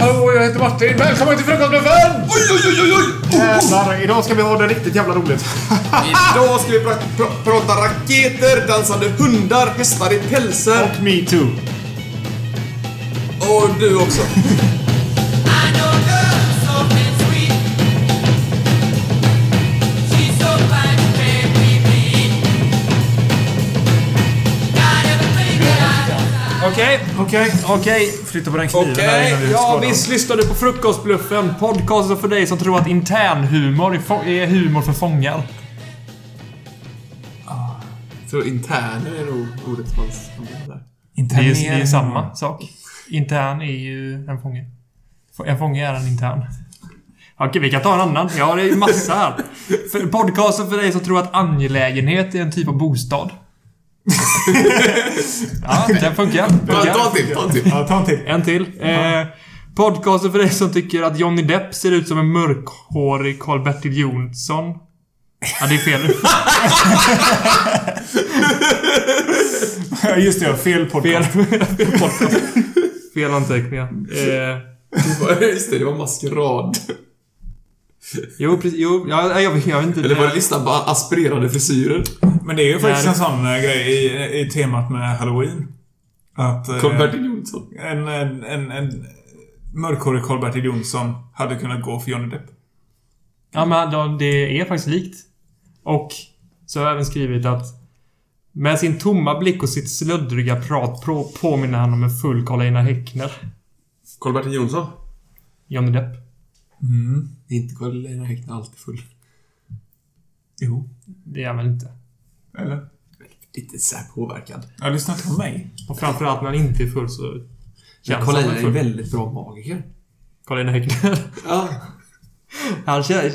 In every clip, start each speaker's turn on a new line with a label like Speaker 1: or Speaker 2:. Speaker 1: Hallå, jag heter Martin. Välkommen till Frukostbuffén!
Speaker 2: Oj, oj, oj, oj, oj!
Speaker 1: Jävlar, Eh, idag ska vi ha det riktigt jävla roligt.
Speaker 2: Idag ska vi pra pra prata raketer, dansande hundar, hästar i pälsar
Speaker 1: Och me too.
Speaker 2: och du också.
Speaker 3: I know girls soft and sweet. She's so fine, baby me. Got everything that I desire.
Speaker 4: Okej,
Speaker 1: Okej.
Speaker 4: okej. Flytta på den kniven här
Speaker 2: Okej,
Speaker 4: innan vi
Speaker 2: ja,
Speaker 4: skadar
Speaker 2: vi
Speaker 4: oss.
Speaker 2: s-
Speaker 4: Visst lyssnar du på Frukostbluffen, podcasten för dig som tror att internhumor är fo- är humor för fångar.
Speaker 2: Jag tror interner är nog ordet man använder där.
Speaker 4: Det är ju, det är ju samma sak. Intern är ju en fånge. F- En fånge är en intern. Okej, vi kan ta en annan. Ja, det är ju massa här. För podcasten för dig som tror att angelägenhet är en typ av bostad. ja, den funkar.
Speaker 2: Ja,
Speaker 4: funkar.
Speaker 2: ta en till, ta en till.
Speaker 1: Ja, ta en till.
Speaker 4: En till. Eh, podcasten för dig som tycker att Johnny Depp ser ut som en mörkhårig Karl-Bertil Jonsson. Ja, det är fel.
Speaker 1: Just det, fel podcast.
Speaker 4: Fel, fel podcast. Fel anteckningar. Eh,
Speaker 2: Det var- Just det, det var maskerad.
Speaker 4: jo, precis. Jo, ja, jag, vet- jag vet inte.
Speaker 2: Eller var det listan på aspirerade frisyrer?
Speaker 5: Men det är ju faktiskt
Speaker 4: Nej.
Speaker 5: en sån eh, grej i, i temat med Halloween. Att eh,
Speaker 2: Karl-Bertil Jonsson.
Speaker 5: en, en, en, en mörkhårig Karl-Bertil Jonsson hade kunnat gå för Johnny Depp.
Speaker 4: Ja, men de- det är faktiskt likt. Och så har jag även skrivit att med sin tomma blick och sitt slöddriga prat på, påminner han om en full Carl-Einar Häckner.
Speaker 2: Karl-Bertil Jonsson?
Speaker 4: Johnny Depp.
Speaker 2: Inte Karl-Einar Häckner, alltid full.
Speaker 5: Jo.
Speaker 4: Det är han väl inte.
Speaker 5: Eller?
Speaker 2: Lite särpåverkad.
Speaker 5: Ja, lyssna inte på mig.
Speaker 4: Och framförallt när han inte är full så
Speaker 2: Men
Speaker 4: känns han
Speaker 2: Karl-Einar är
Speaker 4: full.
Speaker 2: väldigt bra magiker.
Speaker 4: Carl-Einar Häckner.
Speaker 2: Ja.
Speaker 4: Han känns...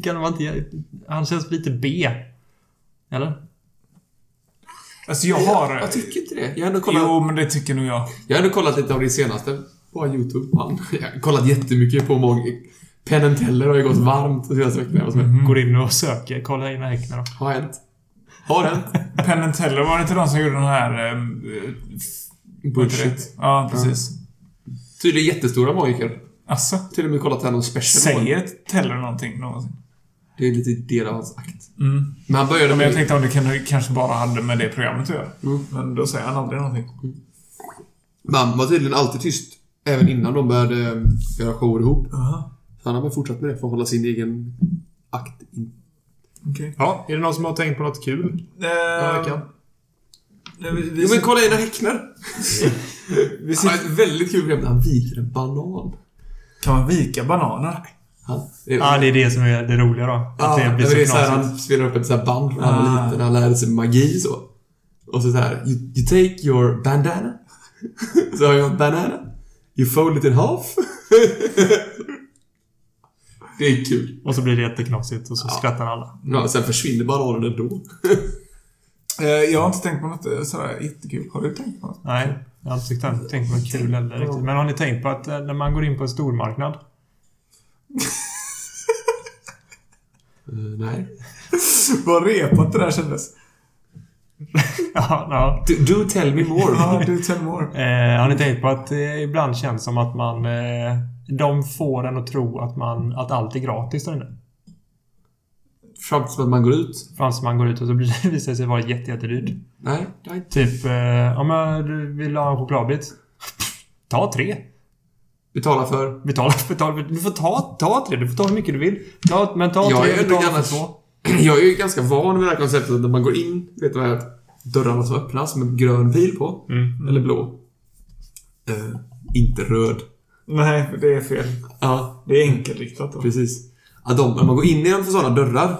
Speaker 4: Kan man inte... Han känns lite B. Eller?
Speaker 5: Alltså jag har...
Speaker 2: Jag tycker inte det. Jag har ändå kollat...
Speaker 5: Jo, men det tycker nog jag.
Speaker 2: Jag har ändå kollat lite av det senaste på YouTube. Man. Jag har kollat jättemycket på många... Penn and Teller har ju gått varmt de senaste veckorna. Vad som
Speaker 5: Mhm.
Speaker 2: mm.
Speaker 4: Går in och söker Carl-Einar Häckner då.
Speaker 2: har hänt? Har hänt?
Speaker 5: Penn and Teller, var det inte de som gjorde den här... eh,
Speaker 2: Bullshit.
Speaker 5: Ja, precis.
Speaker 2: Tydligen jättestora magiker.
Speaker 5: Alltså,
Speaker 2: Till och med kollat här någon special.
Speaker 5: säger Teller någonting någonsin?
Speaker 2: Det är lite del av hans akt.
Speaker 5: Mm.
Speaker 2: Men han började
Speaker 5: Men jag
Speaker 2: med...
Speaker 5: tänkte om det kan- kanske bara hade med det programmet att göra.
Speaker 2: Mm.
Speaker 5: Men då säger han aldrig någonting.
Speaker 2: Man var tydligen alltid tyst. Även innan de började eh, göra shower ihop.
Speaker 5: Aha,
Speaker 2: Så han har väl fortsatt med det för att hålla sin egen akt in.
Speaker 5: okej.
Speaker 1: Ja, är det någon som har tänkt på något kul?
Speaker 5: Eh,
Speaker 1: veckan?
Speaker 5: nej, Eh, vi, vi,
Speaker 2: Jo men kolla Einar Häckner!
Speaker 5: vi
Speaker 2: Han
Speaker 5: sitter,
Speaker 2: har ett väldigt kul program där han viker en banan.
Speaker 5: kan man vika bananer?
Speaker 2: Han,
Speaker 4: Ja, det är det som är det roliga då. Att
Speaker 2: Ja,
Speaker 4: det blir
Speaker 2: men det är
Speaker 4: så
Speaker 2: så här,
Speaker 4: knasigt.
Speaker 2: han spelar upp ett så här band när han var
Speaker 5: Ah.
Speaker 2: liten, när han lärde sig magi så. Och så så här, you, you take your bandana. så har jag banana. You fold it in half. det är kul.
Speaker 4: Och så blir det jätteknasigt och så skrattar alla.
Speaker 2: Ja, sen försvinner bananen ändå.
Speaker 5: Eh, jag har inte tänkt på något eh, sådär jättekul. Har du tänkt på något?
Speaker 4: Nej, jag har inte tyckt att- tänkt på något kul heller riktigt. Men har ni tänkt på att eh, när man går in på en stormarknad
Speaker 2: Eh, nej.
Speaker 5: Vad repat det där kändes.
Speaker 4: Ja, ja.
Speaker 2: Do, do tell me more.
Speaker 5: Ja, du tell more.
Speaker 4: Eh, har ni tänkt på att det ibland känns som att man... Eh, de får en att tro att, man, att allt är gratis där inne.
Speaker 2: Fram tills att man går ut.
Speaker 4: Fram tills man går ut och så blir det, visar det sig vara jätte, jättedyrt.
Speaker 2: Nej, det är inte.
Speaker 4: Typ, eh, ja men du vill ha en chokladbit? Ta tre.
Speaker 2: Betala för.
Speaker 4: Betala, betala. Du får ta, ta tre. Du får ta hur mycket du vill. Ta, men ta
Speaker 2: Jag
Speaker 4: tre.
Speaker 2: är, ju
Speaker 4: betala för
Speaker 2: annars,
Speaker 4: två.
Speaker 2: jag är ju ganska van vid det här konceptet att när man går in, vet du vad det är? Dörrarna som öppnas med grön pil på. Eller blå. Eh, inte röd.
Speaker 5: Nej, för det är fel.
Speaker 2: Ja,
Speaker 5: Det är enkelriktat då.
Speaker 2: precis. Ja, de, när man går in genom sådana dörrar,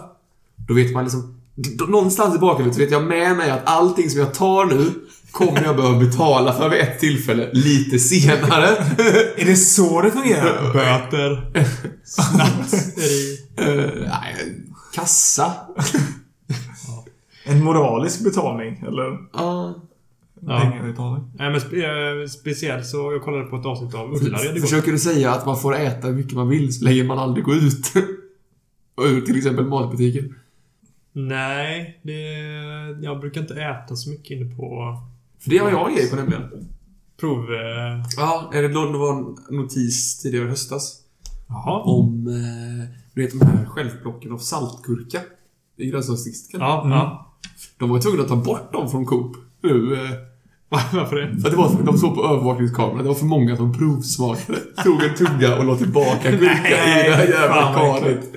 Speaker 2: då vet man liksom... d- d- Någonstans i bakhuvudet så vet jag med mig att allting som jag tar nu kommer jag behöva betala för vid ett tillfälle lite senare.
Speaker 5: Är det så det fungerar?
Speaker 4: Böter. Snatteri.
Speaker 2: Eh, nej, kassa.
Speaker 5: En moralisk betalning, eller?
Speaker 2: Ja.
Speaker 4: Ja.
Speaker 5: Pengabetalning.
Speaker 4: Nej, men spe, eh, speciellt så jag kollade på ett avsnitt av Ullared igår.
Speaker 2: Försöker du säga att man får äta hur mycket man vill så länge man aldrig går ut? Och ur till exempel matbutiken.
Speaker 4: Nej, det, jag brukar inte äta så mycket inne på...
Speaker 2: För det har jag grejer på nämligen.
Speaker 1: prov... eh,
Speaker 2: Ja, det låg- det var en notis tidigare i höstas.
Speaker 1: Jaha.
Speaker 2: Om, eh, du vet de här självplocken av saltgurka i grönsaksdisken.
Speaker 1: Ja, ja.
Speaker 2: De var tvungna att ta bort dem från Coop nu. Eh,
Speaker 1: Varför det?
Speaker 2: för att det var för, de såg på övervakningskameran, det var för många som provsmakade. Tog en tugga och la tillbaka gurkan i det här jävla
Speaker 1: fan vad
Speaker 2: karet.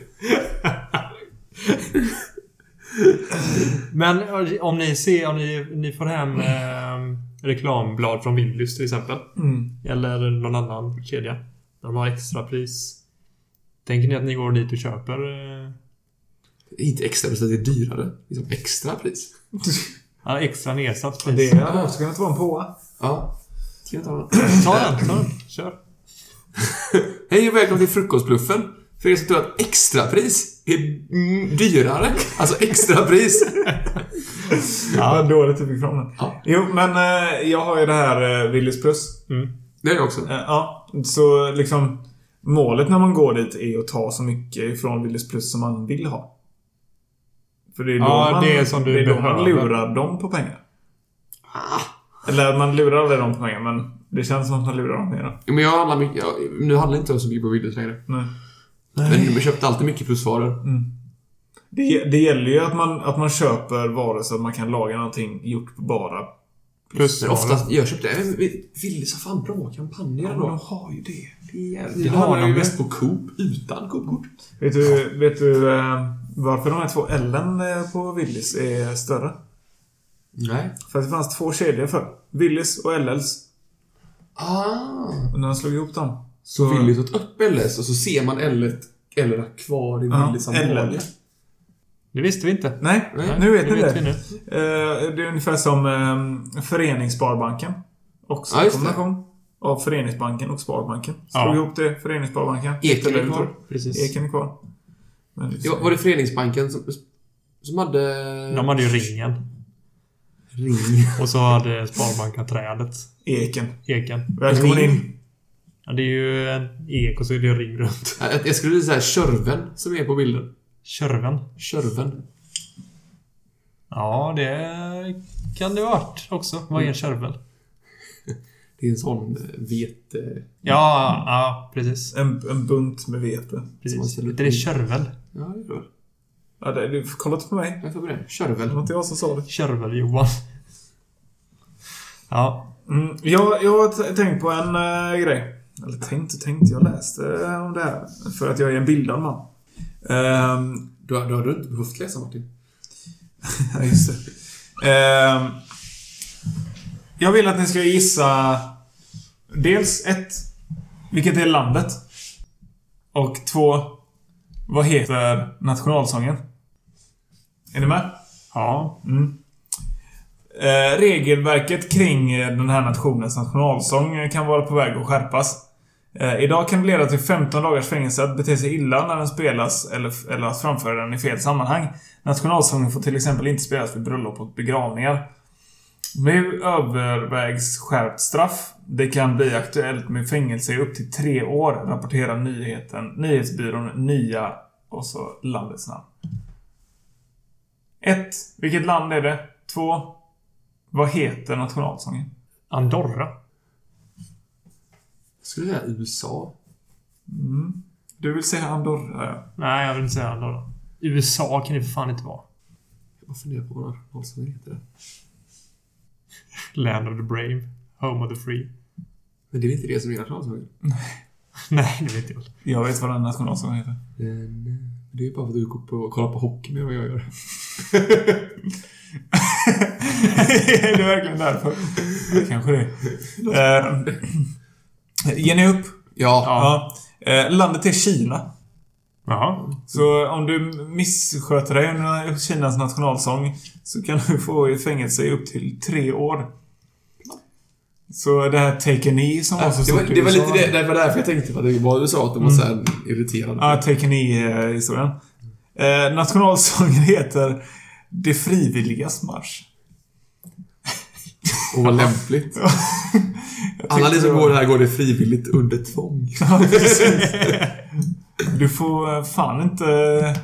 Speaker 4: Men eh, om ni ser, om ni, ni får hem eh, reklamblad från Willys till exempel.
Speaker 5: Mm.
Speaker 4: Eller någon annan kedja. Där de har extrapris. Tänker ni att ni går dit och köper? Eh,
Speaker 2: Inte extra pris, det är dyrare. Liksom extra pris.
Speaker 4: ja, extra nedsatt pris.
Speaker 5: Det hade också kunnat vara en påa.
Speaker 2: Ja. Ska jag ta den?
Speaker 4: Ta den, ta den. Kör.
Speaker 2: Hej och välkomna till Frukostbluffen. För er som tror att extrapris är mm, dyrare. Alltså extrapris.
Speaker 5: Ja. Vad dåligt du fick fram den.
Speaker 2: Ja.
Speaker 5: Jo, men eh, jag har ju det här eh, Willys Plus.
Speaker 2: Det är jag också.
Speaker 5: Eh, Ja, så liksom målet när man går dit är att ta så mycket från Willys Plus som man vill ha. För det är då,
Speaker 4: Ja,
Speaker 5: man,
Speaker 4: det är som du
Speaker 5: det är då man
Speaker 4: behöver. Ah.
Speaker 5: lurar dem på pengar. Eller man lurar aldrig dem på pengar, men det känns som att man lurar dem mer.
Speaker 2: Men jag handlar mycket, jag, nu handlar inte jag så mycket på Willys längre.
Speaker 5: Nej.
Speaker 2: Men jag köpte alltid mycket plusvaror.
Speaker 5: Det, det gäller ju att man, att man köper varor så att man kan laga någonting gjort bara.
Speaker 2: Men oftast, jag köpte, jag vet inte, vi- Willys har fan bra kampanjer
Speaker 5: Ja, men de
Speaker 2: då.
Speaker 5: har ju det.
Speaker 2: Det
Speaker 4: har
Speaker 2: har man
Speaker 4: de
Speaker 2: ju
Speaker 4: ju.
Speaker 2: mest på Coop utan Coop-kort.
Speaker 5: Vet du, vet du eh, varför de här två L'en eh, på Willys är större?
Speaker 2: Nej.
Speaker 5: För att det fanns två kedjor förr. Willys och LLs.
Speaker 2: Ah.
Speaker 5: Och när han slog ihop dem
Speaker 2: Så Willys åt upp LS och så ser man L eller kvar i
Speaker 5: Ja,
Speaker 2: Willys
Speaker 5: L.
Speaker 2: ambalie.
Speaker 4: Det visste vi inte.
Speaker 5: Nej,
Speaker 2: Nej,
Speaker 5: nu vet ni
Speaker 4: vet
Speaker 5: det.
Speaker 4: vi nu.
Speaker 5: Eh, det är ungefär som eh, Föreningssparbanken. Också
Speaker 2: Ja,
Speaker 5: en
Speaker 2: just det.
Speaker 5: kombination av Föreningsbanken och Sparbanken. Slog
Speaker 4: Ja.
Speaker 5: ihop det, Föreningssparbanken.
Speaker 2: Eken är
Speaker 5: Eller-
Speaker 2: kvar.
Speaker 4: Precis.
Speaker 5: Eken är kvar. Men det är
Speaker 2: Det var, var det Föreningsbanken som, som hade...
Speaker 4: De hade ju ringen.
Speaker 2: ring.
Speaker 4: Och så hade Sparbanken trädet.
Speaker 5: Eken.
Speaker 4: Eken.
Speaker 5: Välkommen
Speaker 2: Ring.
Speaker 5: in.
Speaker 4: Ja, det är ju en ek och så är det en ring runt.
Speaker 2: Jag, jag skulle säga Körven som är på bilden.
Speaker 4: Körven.
Speaker 2: Körven.
Speaker 4: Ja, det kan det ha varit också. Vad är
Speaker 5: Mm.
Speaker 4: en körvel?
Speaker 2: Det är en sån eh, vete...
Speaker 4: Ja, ja Mm. precis.
Speaker 5: En, en bunt med vete.
Speaker 2: man
Speaker 4: precis.
Speaker 2: ställer upp
Speaker 4: Det är
Speaker 2: i-
Speaker 4: körvel.
Speaker 2: Ja, det är bra.
Speaker 5: Ja, det, du, kolla inte på mig.
Speaker 2: Jag får på det.
Speaker 5: Det
Speaker 2: Körvel.
Speaker 5: var inte jag som sa det.
Speaker 4: Körvel-Johan. Ja.
Speaker 5: Mm, jag, jag har t- tänkt på en eh, grej. Eller tänkt och tänkt. Jag läste eh, om det här. För att jag är en bildad man. Ehm,
Speaker 2: Du, har- du har inte behövt läsa Martin.
Speaker 5: Ja, just det. Ehm, jag vill att ni ska gissa dels ett, vilket är landet? Och två, vad heter nationalsången? Är ni med?
Speaker 4: Ja.
Speaker 5: Mm. Eh, regelverket kring eh, den här nationens nationalsång eh, kan vara på väg att skärpas. Eh, idag kan det leda till 15 dagars fängelse att bete sig illa när den spelas eller, eller att framföra den i fel sammanhang. Nationalsången får till exempel inte spelas vid bröllop och begravningar. Nu övervägs skärpt straff. Det kan bli aktuellt med fängelse i upp till tre år, rapporterar nyheten, nyhetsbyrån Nya och så landets namn. 1. Vilket land är det? 2. Vad heter nationalsången?
Speaker 4: Andorra.
Speaker 2: Jag skulle säga USA.
Speaker 5: Du vill säga Andorra, ja.
Speaker 4: Nej, jag vill inte säga Andorra. USA kan det för fan inte vara.
Speaker 2: Jag bara funderar på vad nationalsången heter. det.
Speaker 4: Land of the brave. Home of the free.
Speaker 2: Men det är inte det som är nationalsången.
Speaker 4: Nej, det vet jag inte.
Speaker 5: Jag vet vad den nationalsången heter.
Speaker 2: Men eh, det är ju bara för att du går på, kollar på hockey mer än vad jag gör.
Speaker 5: är det verkligen därför? Ja, kanske det. Eh, Ger ni upp?
Speaker 2: Ja.
Speaker 5: Ja. Eh, landet är Kina.
Speaker 4: Jaha.
Speaker 5: Så om du missköter dig under Kinas nationalsång så kan du få i fängelse i upp till tre år. Så det här Take a knee som var så
Speaker 2: det, var,
Speaker 5: stort i
Speaker 2: det var
Speaker 5: USA.
Speaker 2: lite det, det var därför jag tänkte på att det var USA att de var så här irriterande.
Speaker 5: Ja, Take historien eh, Nationalsången heter Det frivilligas marsch.
Speaker 2: Och vad lämpligt. Alla ni
Speaker 5: tyckte
Speaker 2: som
Speaker 5: det
Speaker 2: går
Speaker 5: var-
Speaker 2: här går det frivilligt under tvång.
Speaker 5: Du får eh, fan inte... eh,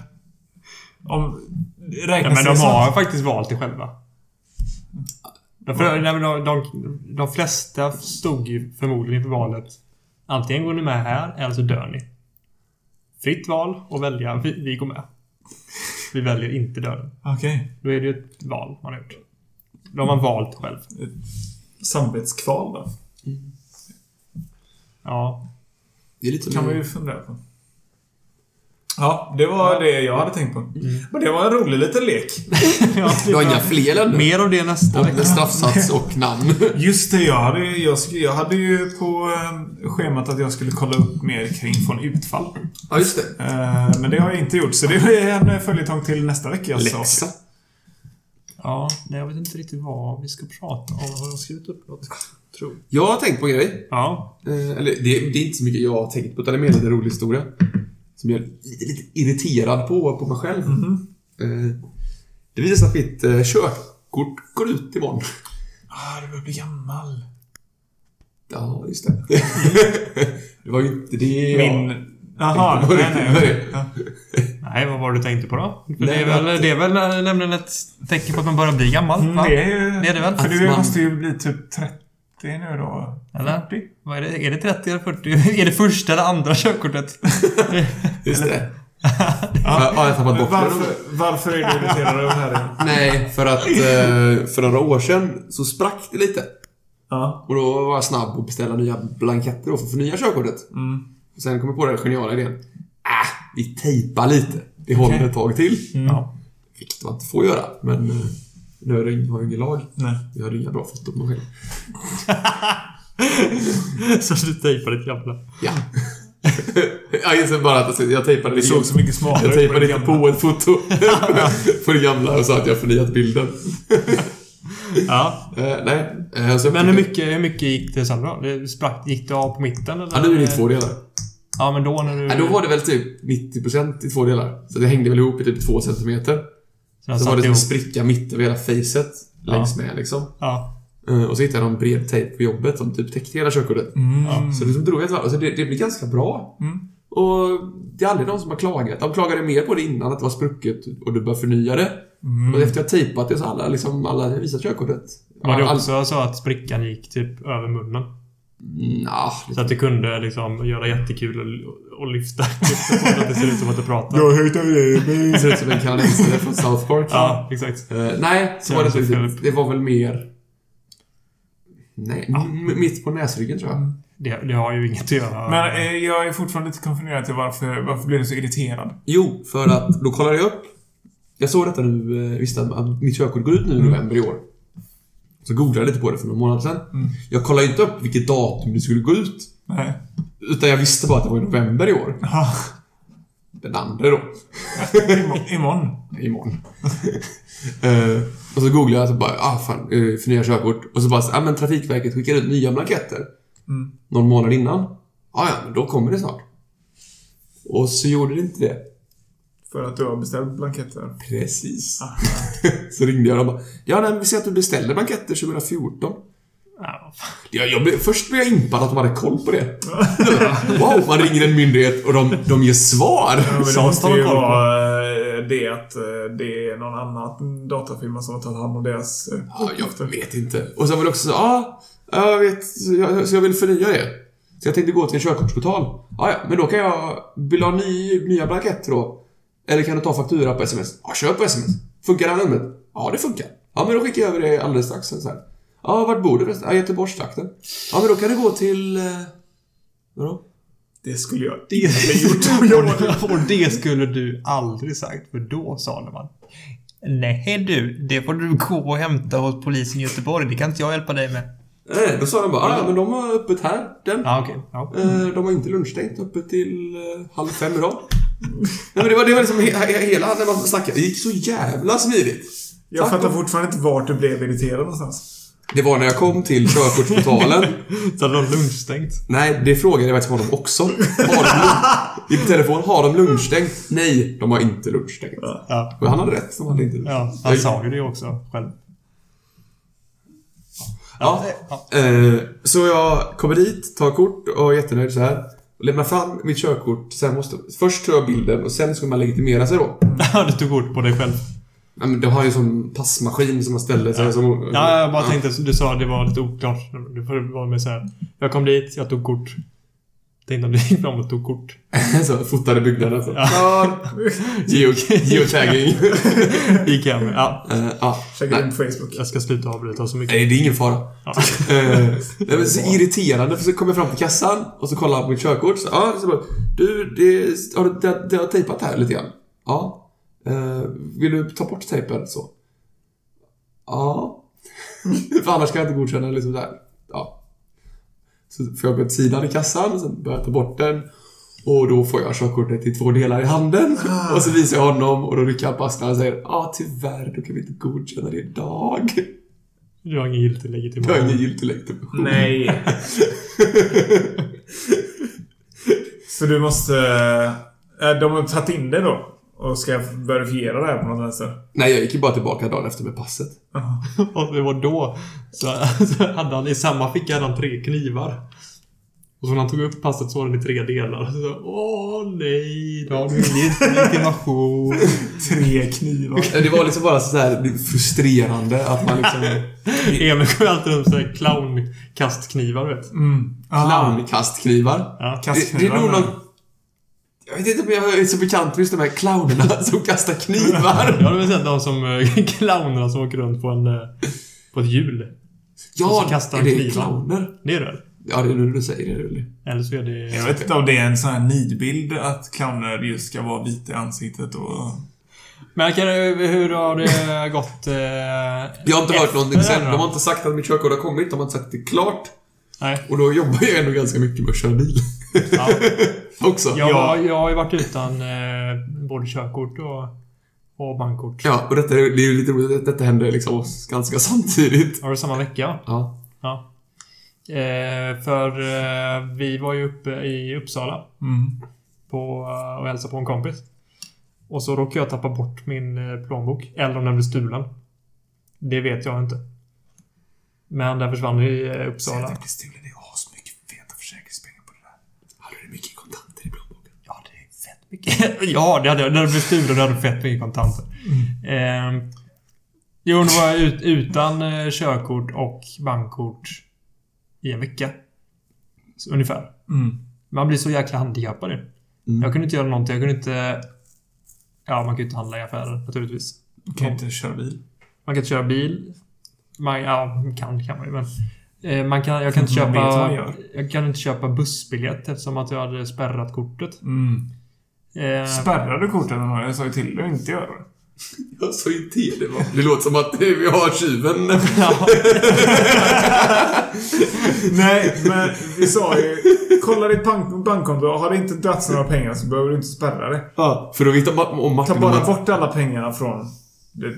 Speaker 5: Om, räknas
Speaker 4: Ja, men
Speaker 5: det
Speaker 4: de
Speaker 5: som-
Speaker 4: Alltså, har faktiskt valt det själva. Därför, nej, men de, de, de flesta stod ju förmodligen inför valet. Antingen går ni med här eller så dör ni. Fritt val och välja. Vi, vi går med. Vi väljer inte döden.
Speaker 5: Okej.
Speaker 4: Då är det ju ett val man har gjort. Då har man valt själv.
Speaker 5: Samvetskval då?
Speaker 4: Ja.
Speaker 2: Det är lite
Speaker 5: kan man ju fundera på. Ja, det var det jag hade tänkt på. Mm. Men det var en rolig liten lek.
Speaker 2: Du har inga fler ännu?
Speaker 4: Mer av det nästa vecka.
Speaker 2: Om straffsats och namn.
Speaker 5: Just det, jag hade, jag, sk- jag hade ju på eh, schemat att jag skulle kolla upp mer kring från utfall.
Speaker 2: Ja, just det.
Speaker 5: Eh, Men det har jag inte gjort, så det är en följetong till nästa vecka. alltså.
Speaker 2: Läxa.
Speaker 4: Ja, nej, jag vet inte riktigt vad vi ska prata om. Har jag skrivit upp något? Tror.
Speaker 2: Jag har tänkt på en grej.
Speaker 4: Ja.
Speaker 2: Eh, eller det, det är inte så mycket jag har tänkt på, utan det är mer en rolig historia. Som jag är lite, lite irriterad på, på mig själv. Eh, det visar sig att mitt eh, körkort går ut imorgon.
Speaker 5: Ah, du börjar bli gammal.
Speaker 2: Ja, just det. det var ju inte det jag...
Speaker 5: Min... Jaha,
Speaker 2: Var det-
Speaker 5: nej, nej.
Speaker 2: var
Speaker 5: okej.
Speaker 2: det-
Speaker 5: Ja.
Speaker 4: Nej, vad var det du tänkte på då? För
Speaker 2: Nej,
Speaker 4: det, är väl, det är väl nämligen ett tecken på att man börjar bli gammal?
Speaker 5: Mm,
Speaker 4: va?
Speaker 5: Det är ju...
Speaker 4: Det är det väl.
Speaker 5: För
Speaker 2: Att
Speaker 5: du
Speaker 2: man-
Speaker 5: måste ju bli typ 30 nu då.
Speaker 4: Eller? Vad är det? Är det 30 eller 40? Är det första eller andra körkortet?
Speaker 2: Just det. ja. Har jag tappat bort det?
Speaker 5: Varför, varför är du irriterad över det här?
Speaker 2: Nej, för att eh, för några år sedan så sprack det lite.
Speaker 5: Ja.
Speaker 2: Och då var jag snabb och beställa nya blanketter då för att förnya körkortet.
Speaker 5: Mm.
Speaker 2: Och sen kom jag på den geniala idén. Ah, vi tejpar lite. Det håller ett tag till.
Speaker 5: Mm.
Speaker 4: Ja.
Speaker 2: Vilket man inte får göra. Men eh, nu är det ingen- har jag ingen lag.
Speaker 5: Nej.
Speaker 2: Jag hade inga bra foton på mig själv.
Speaker 4: Så du tejpar ditt gamla.
Speaker 2: Ja. jag inser bara att jag tejpade
Speaker 5: Mm. Det
Speaker 2: lite.
Speaker 5: såg så mycket smartare
Speaker 2: Jag
Speaker 5: ut på
Speaker 2: tejpade
Speaker 5: det
Speaker 2: inte på ett foto på det gamla och sa att jag förnyat bilden.
Speaker 4: Ja.
Speaker 2: Eh, nej. Eh, så jag
Speaker 4: Men hur
Speaker 2: tycker-
Speaker 4: mycket, hur mycket gick det sen då? Det sprack, gick det av på mitten eller?
Speaker 2: Ja, nu är det i två delar.
Speaker 4: Ja, men då när du...
Speaker 2: Ja, då var det väl typ 90% i två delar. Så det hängde väl ihop i typ två centimeter.
Speaker 4: Sen
Speaker 2: Så
Speaker 4: satt
Speaker 2: var det som
Speaker 4: ihop.
Speaker 2: en spricka mitt över hela facet. Längs med liksom.
Speaker 4: Ja.
Speaker 2: Eh, Och så hittade jag någon bred tejp på jobbet som typ täckte hela körkortet.
Speaker 4: Mm.
Speaker 5: Ja.
Speaker 2: Så liksom drog jag ett varv. Så det, det blev ganska bra. Och det är aldrig någon som har klagat. De klagade mer på det innan, att det var sprucket och du bör förnya det.
Speaker 4: Mm.
Speaker 2: Och efter jag tejpat det så har alla liksom, alla visat körkortet.
Speaker 4: Var det
Speaker 2: All-
Speaker 4: också så att sprickan gick typ över munnen?
Speaker 2: Nja,
Speaker 4: Så att du kunde liksom göra jättekul och, och lyfta. lyfta på det, att det ser ut som att du pratar.
Speaker 2: det ser ut som en kanadensare från South Park.
Speaker 4: Ja, exakt.
Speaker 2: Eh, nej, så
Speaker 4: Jag
Speaker 2: var det
Speaker 4: vet
Speaker 2: inte
Speaker 4: inte.
Speaker 2: riktigt. Det var väl mer... Nej, m- mitt på näsryggen tror jag.
Speaker 4: Det, det har ju inget att göra.
Speaker 5: Men eh, jag är fortfarande inte konfunderad till varför, varför blir du så irriterad?
Speaker 2: Jo, för att då kollade jag upp. Jag såg detta nu, eh, visste att- att mitt körkort går ut nu i november i år. Så googlade jag lite på det för några månader sedan. Jag kollade inte upp vilket datum det skulle gå ut.
Speaker 5: Nej.
Speaker 2: Utan jag visste bara att det var i november i år.
Speaker 5: Ja,
Speaker 2: Den andra då.
Speaker 5: imo- imorgon.
Speaker 2: Imorgon. Eh, och så googlade jag och så bara, ah fan, eh, förnya körkort. Och så bara, så, ah, men Trafikverket skickar ut nya blanketter.
Speaker 5: Mm.
Speaker 2: Någon månad innan. Ah, ja, men då kommer det snart. Och så gjorde det inte det.
Speaker 5: För att du har beställt blanketter.
Speaker 2: Precis.
Speaker 5: Ah.
Speaker 2: så ringde jag och de bara, ja nej, men vi ser att du beställde blanketter 2014.
Speaker 4: Ja,
Speaker 2: Jag, jag, blev- först blev jag impad att de hade koll på det. wow, man ringer en myndighet och de, de ger svar.
Speaker 5: Ja, men det
Speaker 4: Sånt
Speaker 5: måste
Speaker 4: har de
Speaker 5: ju
Speaker 4: koll på.
Speaker 5: vara eh, det att eh, det är någon annan datafirma som har tagit hand om deras... eh,
Speaker 2: Ja, jag vet inte. Och sen var det också så, ja, jag vet, så jag, så jag vill förnya det. Så jag tänkte gå till en körkortsportal. Ja, ja, men då kan jag, vill du ha ny, nya blanketter då? Eller kan du ta faktura på sms? Ja, kör på sms. Funkar det här numret? Ja, det funkar. Ja, men då skickar jag över det alldeles strax sen så här. Ja, vart bor du förresten? Ja, Göteborgstrakten. Ja, men då kan du gå till... eh, Vadå?
Speaker 5: Det skulle jag inte
Speaker 4: Det
Speaker 5: gjort. Jag var-
Speaker 4: och, och det skulle du aldrig sagt, för då sade man. Nej du, det får du gå och hämta hos polisen i Göteborg. Det kan inte jag hjälpa dig med.
Speaker 2: Nej, då sa de bara, "Ja, ja, men de har öppet här, den.
Speaker 4: Ja, okej. Ja.
Speaker 2: Eh, De har inte lunchstängt uppe till eh, halv fem idag. Nej, men det var, det var liksom he- he- hela när man snackade. Det gick så jävla smidigt.
Speaker 5: Jag
Speaker 2: Tack.
Speaker 5: fattar fortfarande inte vart du blev irriterad någonstans.
Speaker 2: Det var när jag kom till körkortsportalen.
Speaker 4: Så hade de lunchstängt.
Speaker 2: Nej, det frågade jag faktiskt honom också. Har de lun- I telefon, har de lunchstängt? Nej, de har inte lunchstängt.
Speaker 4: Ja.
Speaker 2: Och han hade rätt, de hade inte lunchstängt.
Speaker 4: Ja, han sa ju det också själv.
Speaker 2: Ja.
Speaker 4: ja.
Speaker 2: Eh, Så jag kommer dit, tar kort och är jättenöjd så här. Och lämnar fram mitt körkort. Sen måste, först tar jag bilden och sen ska man legitimera sig då.
Speaker 4: Ja, Du tog kort på dig själv.
Speaker 2: Ja, men de har ju sån passmaskin som man ställer sig som...
Speaker 4: Ja, jag bara tänkte som du sa, det var lite oklart. Du får vara med så här. Jag kom dit, jag tog kort. Tänkte om du gick fram och tog kort.
Speaker 2: så, fotade byggnaden. Så. Ja. Geo, geotagging.
Speaker 4: Gick jag med. Ja,
Speaker 2: Eh, ja.
Speaker 5: Checka in på Facebook.
Speaker 4: jag ska sluta avbryta så mycket.
Speaker 2: Nej, det är ingen fara.
Speaker 4: Ja.
Speaker 2: Eh, nej, men så irriterande, för så kommer jag fram till kassan och så kollar han på mitt körkort. Så, ja, så bara, du, det, har du det, det har tejpat här lite grann? Ja. Eh, vill du ta bort tejpen? Så. Ja. för annars kan jag inte godkänna liksom där. Ja. Så får jag gå åt sidan i kassan och sen börjar jag ta bort den. Och då får jag körkortet i två delar i handen. Och så visar jag honom och då rycker han på axlarna och säger Ja, tyvärr, då kan vi inte godkänna det idag.
Speaker 4: Du har ingen typ. giltig
Speaker 2: Jag har ingen
Speaker 4: legitimation.
Speaker 2: giltig legitimation.
Speaker 5: Nej. Så du måste... eh, De har tagit in det då? Och ska verifiera det här på något vänster?
Speaker 2: Nej, jag gick ju bara tillbaka dagen efter med passet.
Speaker 4: Och det var då så, så hade han i samma ficka hade han tre knivar. Och så när han tog upp passet så var den i tre delar. Så, Åh nej, då har du ingen giltig legitimation.
Speaker 5: Tre knivar.
Speaker 2: Det var liksom bara så här frustrerande att man liksom...
Speaker 4: Emil går ju alltid runt med så här clownkastknivar, du vet.
Speaker 5: Mm. Ah,
Speaker 2: Clownkastknivar.
Speaker 4: Ja.
Speaker 2: Det, det är nog
Speaker 5: Kastknivar.
Speaker 2: någon... Jag vet inte om jag är så bekant med just de här clownerna som kastar knivar.
Speaker 4: Ja, det är väl de som eh, clownerna som åker runt på en... eh, På ett hjul. Och
Speaker 2: Ja,
Speaker 4: så kastar
Speaker 2: är det
Speaker 4: knivar.
Speaker 2: clowner?
Speaker 4: Det är det väl?
Speaker 2: Ja, det är nu du säger det. Rulli.
Speaker 4: Eller så är det...
Speaker 5: Jag vet inte om det är en sån här nidbild att clowner just ska vara vita i ansiktet och...
Speaker 4: Men kan du, hur har det gått? Eh,
Speaker 2: Jag har inte hört
Speaker 4: Efter
Speaker 2: någonting sen.
Speaker 4: det då?
Speaker 2: De har inte sagt att mitt körkort har kommit. De har inte sagt att det är klart.
Speaker 4: nej.
Speaker 2: Och då jobbar jag ändå ganska mycket med att köra bil.
Speaker 4: Ja.
Speaker 2: Också.
Speaker 4: Jag, har- jag har ju varit utan eh, både körkort och, och bankkort.
Speaker 2: Ja, och detta, är- det är ju lite roligt att detta hände liksom oss ganska samtidigt.
Speaker 4: Har du samma vecka?
Speaker 2: Ja.
Speaker 4: Ja. Eh, för eh, vi var ju uppe i Uppsala
Speaker 5: Mm.
Speaker 4: på, eh, och hälsade på en kompis. Och så råkade jag tappa bort min eh, plånbok. Eller om den blev stulen. Det vet jag inte. Men den försvann i eh,
Speaker 5: Säg att
Speaker 4: Uppsala.
Speaker 5: det blir stulet. Det är asmycket feta försäkringspengar på det där.
Speaker 2: Hade du mycket kontanter i plånboken?
Speaker 4: Ja, det är fett mycket. ja, det hade jag. När det blev stulen hade jag fett mycket kontanter.
Speaker 5: Mm.
Speaker 4: Ehm, jo, då var jag ut, utan eh, körkort och bankkort i en vecka. Så, ungefär.
Speaker 5: Mm.
Speaker 4: Man blir så jäkla handikappad ju.
Speaker 2: Mm.
Speaker 4: Jag kunde inte göra någonting. Jag kunde inte... Ja, man kan ju inte handla i affärer naturligtvis.
Speaker 5: Kan inte köra bil.
Speaker 4: Man kan inte köra bil. Man, ja, kan kan man ju men. Eh, Man kan, jag, kan inte
Speaker 5: Man vet vad man
Speaker 4: köpa,
Speaker 5: gör.
Speaker 4: jag kan inte köpa bussbiljett eftersom att jag hade spärrat kortet.
Speaker 5: Mm.
Speaker 4: Eh,
Speaker 5: Spärrar du korten? Jag sa ju till dig att inte göra det.
Speaker 2: Jag sa ju till det va? Det låter som att vi har tjuven.
Speaker 4: ja,
Speaker 5: Nej, men vi sa ju... Kolla ditt bank- bankkonto. Har det inte dragits några pengar så behöver du inte spärra det.
Speaker 2: Ja, för då vet man om Martin...
Speaker 5: Ta bara bort alla pengarna från... Det,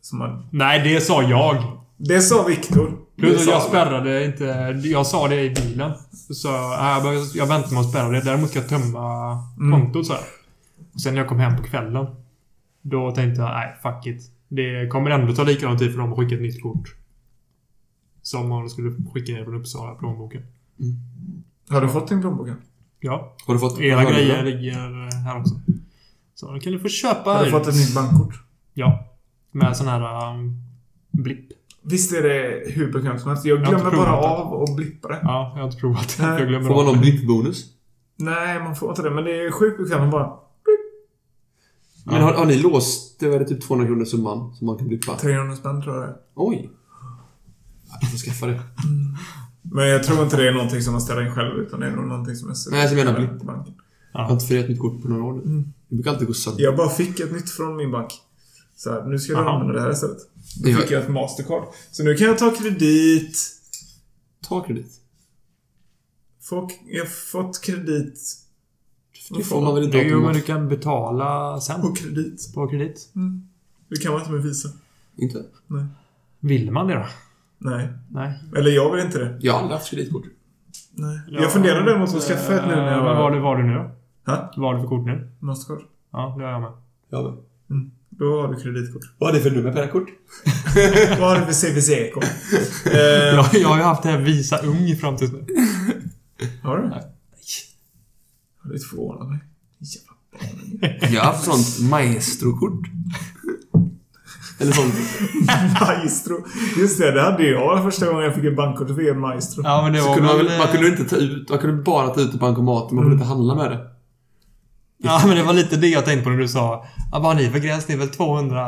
Speaker 5: som har,
Speaker 4: nej, det sa jag.
Speaker 5: det sa Viktor.
Speaker 4: Plus att
Speaker 2: sa
Speaker 4: jag
Speaker 2: du.
Speaker 4: spärrade inte. Jag sa det i bilen. Så ja, jag, behöver- jag väntar med att spärra det. Däremot ska jag tömma
Speaker 2: Mm.
Speaker 4: kontot så här. Och sen när jag kom hem på kvällen. Då tänkte jag, nej, fuck it. Det kommer ändå ta lika lång tid för dem att skicka ett nytt kort. Som om de skulle skicka ner från Uppsala, plånboken.
Speaker 5: Har du fått din plånbok?
Speaker 4: Ja,
Speaker 2: Har du fått...
Speaker 4: era grejer ligger eh, här också. Så nu kan du få köpa...
Speaker 5: Har du fått ett nytt bankkort?
Speaker 4: Ja. Med sån här... Um, blipp.
Speaker 5: Visst är det hur bekant som helst. Jag
Speaker 4: har inte
Speaker 5: glömmer bara
Speaker 4: provat det.
Speaker 5: av och blippa det.
Speaker 4: Ja, jag har inte provat det.
Speaker 5: Nej.
Speaker 4: Jag glömmer
Speaker 2: Får man
Speaker 4: av.
Speaker 2: någon blippbonus?
Speaker 5: Nej, man får inte det. Men det är sjukt bekant. Man bara...
Speaker 2: Men har, har ni låst... Det var det typ 200 kronor summan som man kan blippa?
Speaker 5: 300 spänn tror jag det är.
Speaker 2: Oj! Jag får skaffa det.
Speaker 5: Men jag tror inte det är någonting som man ställer in själv. Utan det är nog någonting som är...
Speaker 2: Nej, jag menar blipp.
Speaker 5: banken.
Speaker 2: Jag har inte förnyat mitt kort på några år nu.
Speaker 4: Mm.
Speaker 2: Det brukar alltid gå sönder.
Speaker 5: Jag bara fick ett nytt från min bank. Så här, nu ska du
Speaker 4: Aha.
Speaker 5: använda det här istället. Då
Speaker 2: Ja.
Speaker 5: fick jag ett Mastercard. Så nu kan jag ta kredit.
Speaker 2: Ta kredit.
Speaker 5: Folk, jag har fått kredit
Speaker 2: Det får man väl inte
Speaker 4: Jo, men du
Speaker 2: automatiskt?
Speaker 4: kan betala sen.
Speaker 5: på kredit.
Speaker 4: På kredit.
Speaker 5: Det kan man inte med Visa.
Speaker 2: Inte?
Speaker 4: Vill man det då?
Speaker 5: Nej.
Speaker 4: Nej.
Speaker 5: Eller jag vill inte det.
Speaker 2: Jag har aldrig haft kreditkort.
Speaker 5: Nej. Jag funderar däremot på
Speaker 4: Eh,
Speaker 5: att skaffa ett nu när jag...
Speaker 4: Vad var det, var det nu då?
Speaker 5: Ha?
Speaker 4: Vad var det för kort nu?
Speaker 5: Mastercard.
Speaker 4: Ja, det har jag med.
Speaker 2: Ja, men.
Speaker 5: Då har du kreditkort.
Speaker 2: Vad är det för nummer på det här kort?
Speaker 5: Vad har du för CVC-kod? eh,
Speaker 4: Jag, jag har ju haft det här Visa Ung fram tills nu.
Speaker 5: har du? Nej. Har du inte förvånat mig? Jävla barn.
Speaker 2: Jag har haft sånt maestrokort. Eller sånt.
Speaker 5: Maestro. Just det, det hade jag första gången jag fick ett bankkort. via Maestro.
Speaker 4: Ja, men det
Speaker 2: Så
Speaker 4: var
Speaker 2: kunde man,
Speaker 4: väl,
Speaker 2: väl, man kunde inte ta ut, man kunde bara ta ut det på bankomaten, man kunde inte handla med det.
Speaker 4: Ja, men det var lite det jag tänkte på när du sa ja, vad har ni för gräns? Det är väl 200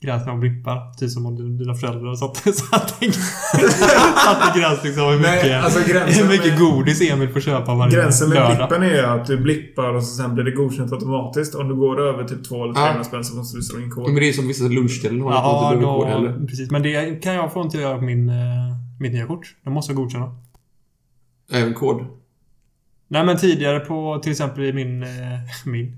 Speaker 4: gräns när de blippar? Typ som om du- dina föräldrar satte, satte, satte gräns liksom hur
Speaker 5: Nej,
Speaker 4: mycket,
Speaker 5: alltså gränsen
Speaker 4: hur mycket
Speaker 5: med-
Speaker 4: godis Emil får köpa varje
Speaker 5: Gränsen med
Speaker 4: lördag.
Speaker 5: blippen är ju att du blippar och så sen blir det godkänt automatiskt. Om du går över typ 2 eller
Speaker 2: Ja.
Speaker 5: 300 spänn så måste du slå in
Speaker 2: Ja, Men
Speaker 5: kod.
Speaker 2: det är ju som vissa lunchställen har. att
Speaker 4: Ja,
Speaker 2: man inte behöver gå det
Speaker 4: då,
Speaker 2: heller.
Speaker 4: precis. Men det kan jag få inte göra på min, eh, mitt nya kort. De måste jag godkänna.
Speaker 2: Även kod.
Speaker 4: Nej, men tidigare på till exempel i min, eh, min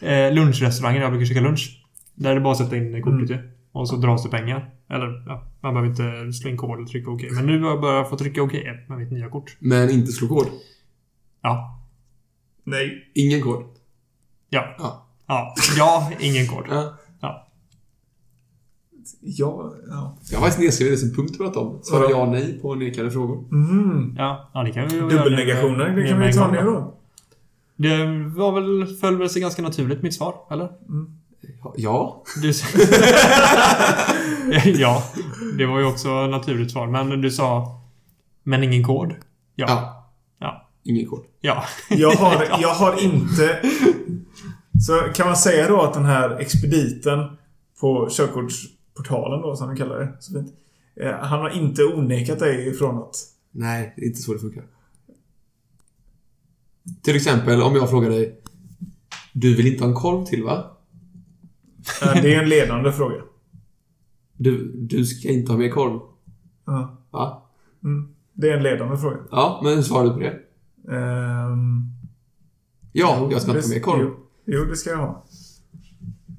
Speaker 4: eh, lunchrestaurang där jag brukar käka lunch. Där är det bara att sätta in kortet
Speaker 5: Mm.
Speaker 4: ju. Och så dras det pengar. Eller ja, man behöver inte slå in kod eller trycka OK. Men nu har jag börjat få trycka OK med mitt nya kort.
Speaker 2: Men inte slå kod.
Speaker 4: Ja.
Speaker 5: Nej.
Speaker 2: Ingen kod.
Speaker 4: Ja.
Speaker 2: Ja.
Speaker 4: Ja. Ja, ingen kod.
Speaker 2: Ja.
Speaker 4: Ja.
Speaker 5: Ja. ja.
Speaker 2: Jag har faktiskt nedskriven det som punkt vi pratade om. Svara ja nej på nekade frågor.
Speaker 5: Mm.
Speaker 4: Ja, ja det kan vi göra.
Speaker 5: Dubbelnegationer, det kan vi ju ta ner då.
Speaker 4: Det var väl, föll väl sig ganska naturligt mitt svar, eller?
Speaker 2: Ja.
Speaker 4: Du sa... ja, det var ju också naturligt svar. Men du sa... Men ingen kod? Ja. Ja.
Speaker 2: Ja. Ingen kod.
Speaker 4: ja.
Speaker 5: Jag har, jag har inte... Så kan man säga då att den här expediten på körkortsportalen då, som de kallar det. Så fint. eh, Han har inte onekat dig ifrån att...
Speaker 2: Nej, det är inte så det funkar. Till exempel om jag frågar dig. Du vill inte ha en korv till va?
Speaker 5: Eh, Det är en ledande fråga.
Speaker 2: Du, du ska inte ha mer korv.
Speaker 5: Ja.
Speaker 2: Va?
Speaker 5: Mm. Det är en ledande fråga.
Speaker 2: Ja, men hur svarar du på det?
Speaker 5: Ehm,
Speaker 2: Ja, jag ska inte ha
Speaker 5: det-
Speaker 2: mer korv.
Speaker 5: Jo, jo, det ska jag ha.